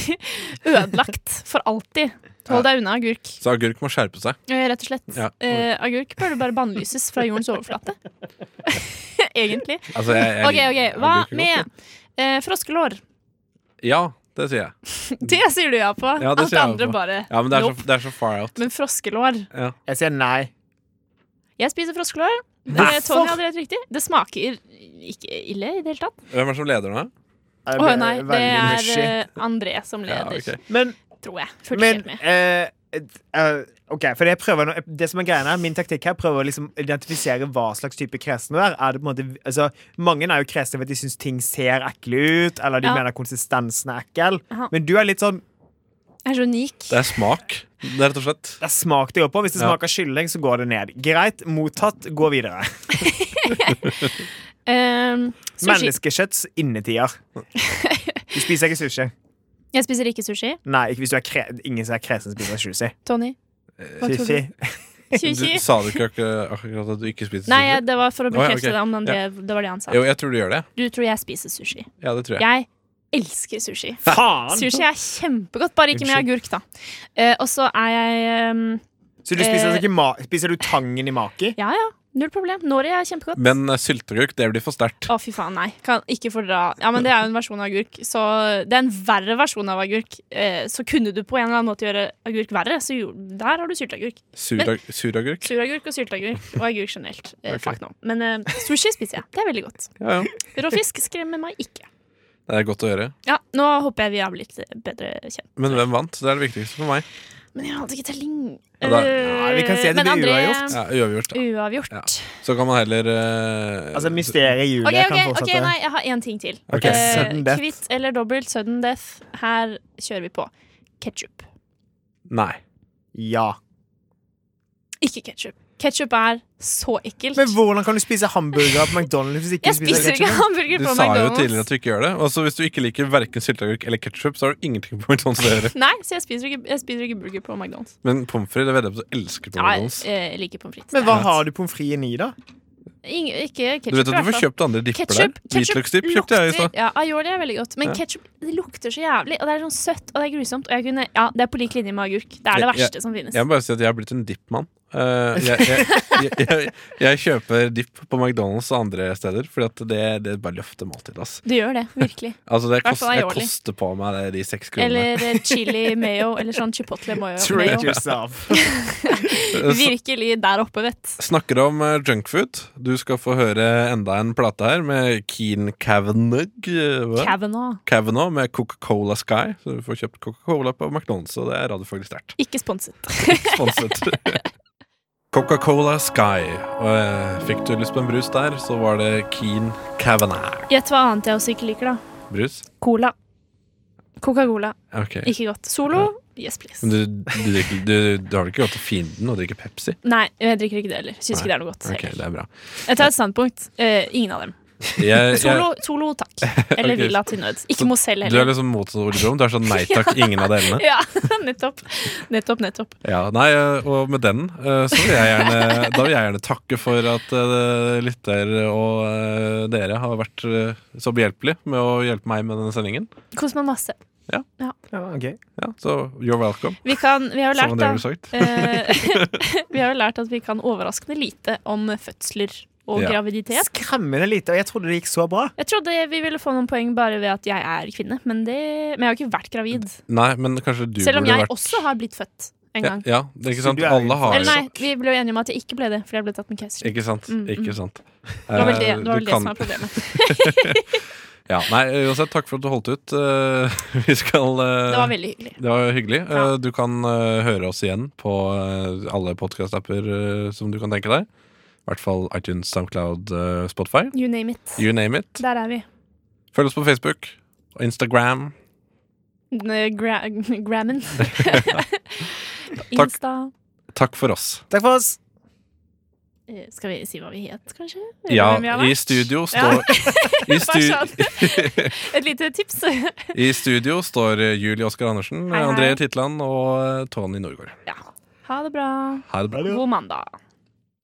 [laughs] Ødelagt for alltid. Hold deg unna agurk. Så agurk må skjerpe seg. Eh, Rett og slett. Ja. Eh, agurk burde bare bannlyses fra jordens overflate. [laughs] Egentlig. Altså, jeg, jeg, OK, ok. liker Hva agurk godt, med eh, froskelår? jeg. Ja, det sier jeg. Det sier du ja på. Ja, det sier Alt det jeg ja andre på. bare Ja, men det er, nope. så, det er så far out. Men froskelår Ja. Jeg sier nei. Jeg spiser froskelår. Eh, Hvorfor? Tony hadde rett riktig. Det smaker ikke ille i det hele tatt. Hvem er det som leder nå? Jeg Å blir nei, det veldig er mushy. eh, André som Ja, leder, ok. Men, tror jeg. Følger ikke men helt med. eh, et- eh, OK, for jeg prøver nå Det som er greia her, min taktikk her prøver å liksom identifisere hva slags type kresen du er. er det på en måte, altså, mange er jo kresne fordi de syns ting ser ekle ut, eller de Ja. mener konsistensen er ekkel. Aha. Men du er litt sånn Jeg er så unik. Det er smak, det er rett og slett. Det er smak det går på. Hvis det Ja. smaker kylling, så går det ned. Greit, mottatt, gå videre. Ehm, sushi. Menneskekjøtts innetider. [laughs] Du spiser ikke sushi. Jeg spiser ikke sushi. Nei, ikke hvis du er kre ingen som er kresen, spiser sushi. Tony. Eh, Hva tror Fifi. du? Du Sushi. sa du ikke akkurat, akkurat at du ikke spiser Nei, sushi? jeg- det var for å Å, ja, bekrefte ok. det om André. Det var det han sa. Jo, jeg tror du gjør det. Du tror jeg spiser sushi. Ja, det tror jeg. Jeg elsker sushi. Faen! Sushi er kjempegodt, bare ikke med agurk, da. Eh, og så er jeg ehm, Så du spiser, altså ikke ma spiser du tangen i maki? Ja ja, null problem. Nori er kjempegodt. Men uh, sylteagurk, det blir for sterkt. Å, fy faen, nei. Kan ikke fordra Ja, men det er jo en versjon av agurk. Så det er en verre versjon av agurk. Eh, så kunne du på en eller annen måte gjøre agurk verre, så jo, der har du sylteagurk. Surag- Suragurk? Suragurk og sylteagurk og agurk generelt. Eh, Fuck no. Men eh, sushi spiser jeg. Det er veldig godt. Ja, ja. Rå fisk skremmer meg ikke. Det er godt å gjøre. Ja, nå håper jeg vi har blitt bedre kjent. Men hvem vant? Det er det viktigste for meg. Men jeg hadde ikke telling. Ja, da- Eh, Nei, vi kan si det men blir André- uavgjort. Ja, uavgjort. da. Uavgjort. Ja. Så kan man heller eh, Altså, mysteriet Julie Ok, ok, kan ok, fortsette. nei, jeg har én ting til. Ok. Eh, Sudden death. Kvitt eller dobbelt sudden death. Her kjører vi på. Ketchup. Nei. Ja. Ikke ketchup. Ketchup er så ekkelt. Men hvordan kan du spise hamburger på McDonald's hvis ikke jeg du spiser spiser ikke ketchup? hamburger Du på sa jo tidligere McDonald's. at du ikke gjør det. Og så hvis du ikke liker verken sylteagurk eller ketsjup, så har du ingenting på McDonald's å gjøre. Nei, så jeg spiser ikke, jeg spiser ikke burger på McDonald's. Men pommes frites det vedder jeg på at du elsker på Ja, jeg, McDonald's. eh, jeg liker pommes frites. Men hva har du pommes frites i, da? Ing- Ikke Du ketchup. vet at du får kjøpt andre dipper der? Ketchup, Hvitløksdipp kjøpte jeg i stad. Ja, aioli er veldig godt. Men Ja. ketchup det lukter så jævlig. Og det er sånn søtt og det er grusomt. Og jeg kunne, ja, det er på lik linje med agurk. Det er det Jeg- jeg- verste som finnes. Jeg må bare si at jeg er blitt en dippmann. Eh, jeg, jeg, jeg, jeg, jeg kjøper dipp på McDonald's og andre steder, Fordi at det, det bare løfter måltidet. ass. Du gjør det, [laughs] virkelig. Altså, det Hvertfall kost, jeg aioli. koster på meg det, de seks kronene. Eller eh, chili mayo, eller sånn chipotle mayo. Treat mayo. yourself. Eh, Virkelig der oppe, vet Snakker om eh, junkfood. Du skal få høre enda en plate her med Keen Kavanagh. eh, hva? Kavanaugh. Kavanagh med Coca-Cola Sky. Så du får kjøpt Coca-Cola på McDonald's, og det er radiofaglig sterkt. Ikke sponset. Sponset. Coca-Cola Sky. Og eh, fikk du lyst på en brus der, så var det Keen Kavanagh. Gjett hva annet jeg også ikke liker, da. Brus? Cola. Coca-Cola. Ok. Ikke godt. Solo? Yes, please. Men du, du, drikker, du, du har det ikke gått til fienden å drikke Pepsi? Nei, jeg drikker ikke det heller. Syns ikke det er noe godt. Ok, heller. det er bra. Jeg tar et standpunkt. Eh, ingen av dem. Jeg, jeg, [laughs] Solo, solo takk. Eller [laughs] Ok. Villa til nød. Så Ikke Mozell du er heller. liksom motsatt av Ole Brumm. Du er [laughs] sånn nei takk, ingen av delene. Ja, [laughs] nettopp. Nettopp, nettopp. Ja, nei, eh, og med den eh, så vil jeg gjerne, [laughs] da vil jeg gjerne takke for at eh, lytter og eh, dere har vært eh, så behjelpelige med å hjelpe meg med denne sendingen. Kos meg masse. Ja, ok. Ja, så you're welcome, Vi, kan, vi har jo som lært, dere da. har sagt. eh, [laughs] vi har jo lært at vi kan overraskende lite om fødsler og Ja. graviditet. Skremmende lite, og jeg trodde det gikk så bra. Jeg trodde vi ville få noen poeng bare ved at jeg er kvinne, men, det, men jeg har ikke vært gravid. Nei, men kanskje du Selv om burde jeg vært også har blitt født en ja, gang. ja, det Så er ikke sant? du er Alle har Eller jo nei, vi ble jo enige om at jeg ikke ble det, fordi jeg ble tatt med keisersnitt. Ikke sant? Mm, mm. Ikke sant. Det var vel det, Eh, det, var vel du det kan- som var [laughs] problemet. Ja, nei, eh, uansett, takk for at du holdt ut. Eh, [laughs] vi skal eh, Det var veldig hyggelig. Det var hyggelig. Eh, Ja. Du kan eh, høre oss igjen på eh, alle podkast-apper eh, som du kan tenke deg. I hvert fall iTunes, SoundCloud, eh, Spotify. You name it. You name it. Der er vi. Følg oss på Facebook og Instagram. N- eh, Gra [laughs] Grammen. På Takk. Insta. Takk for oss. Takk for oss. Eh, Skal vi si hva vi het, kanskje? Eller Ja, hvem vi har i vært? studio Ja. står [laughs] i, stu, Bare sånn. [laughs] Et lite tips. I studio står eh, Julie Oskar Andersen, Hei, hei. André Titland og eh, Tony Norgård. Ja. Ha det bra. Ha det bra. God mandag.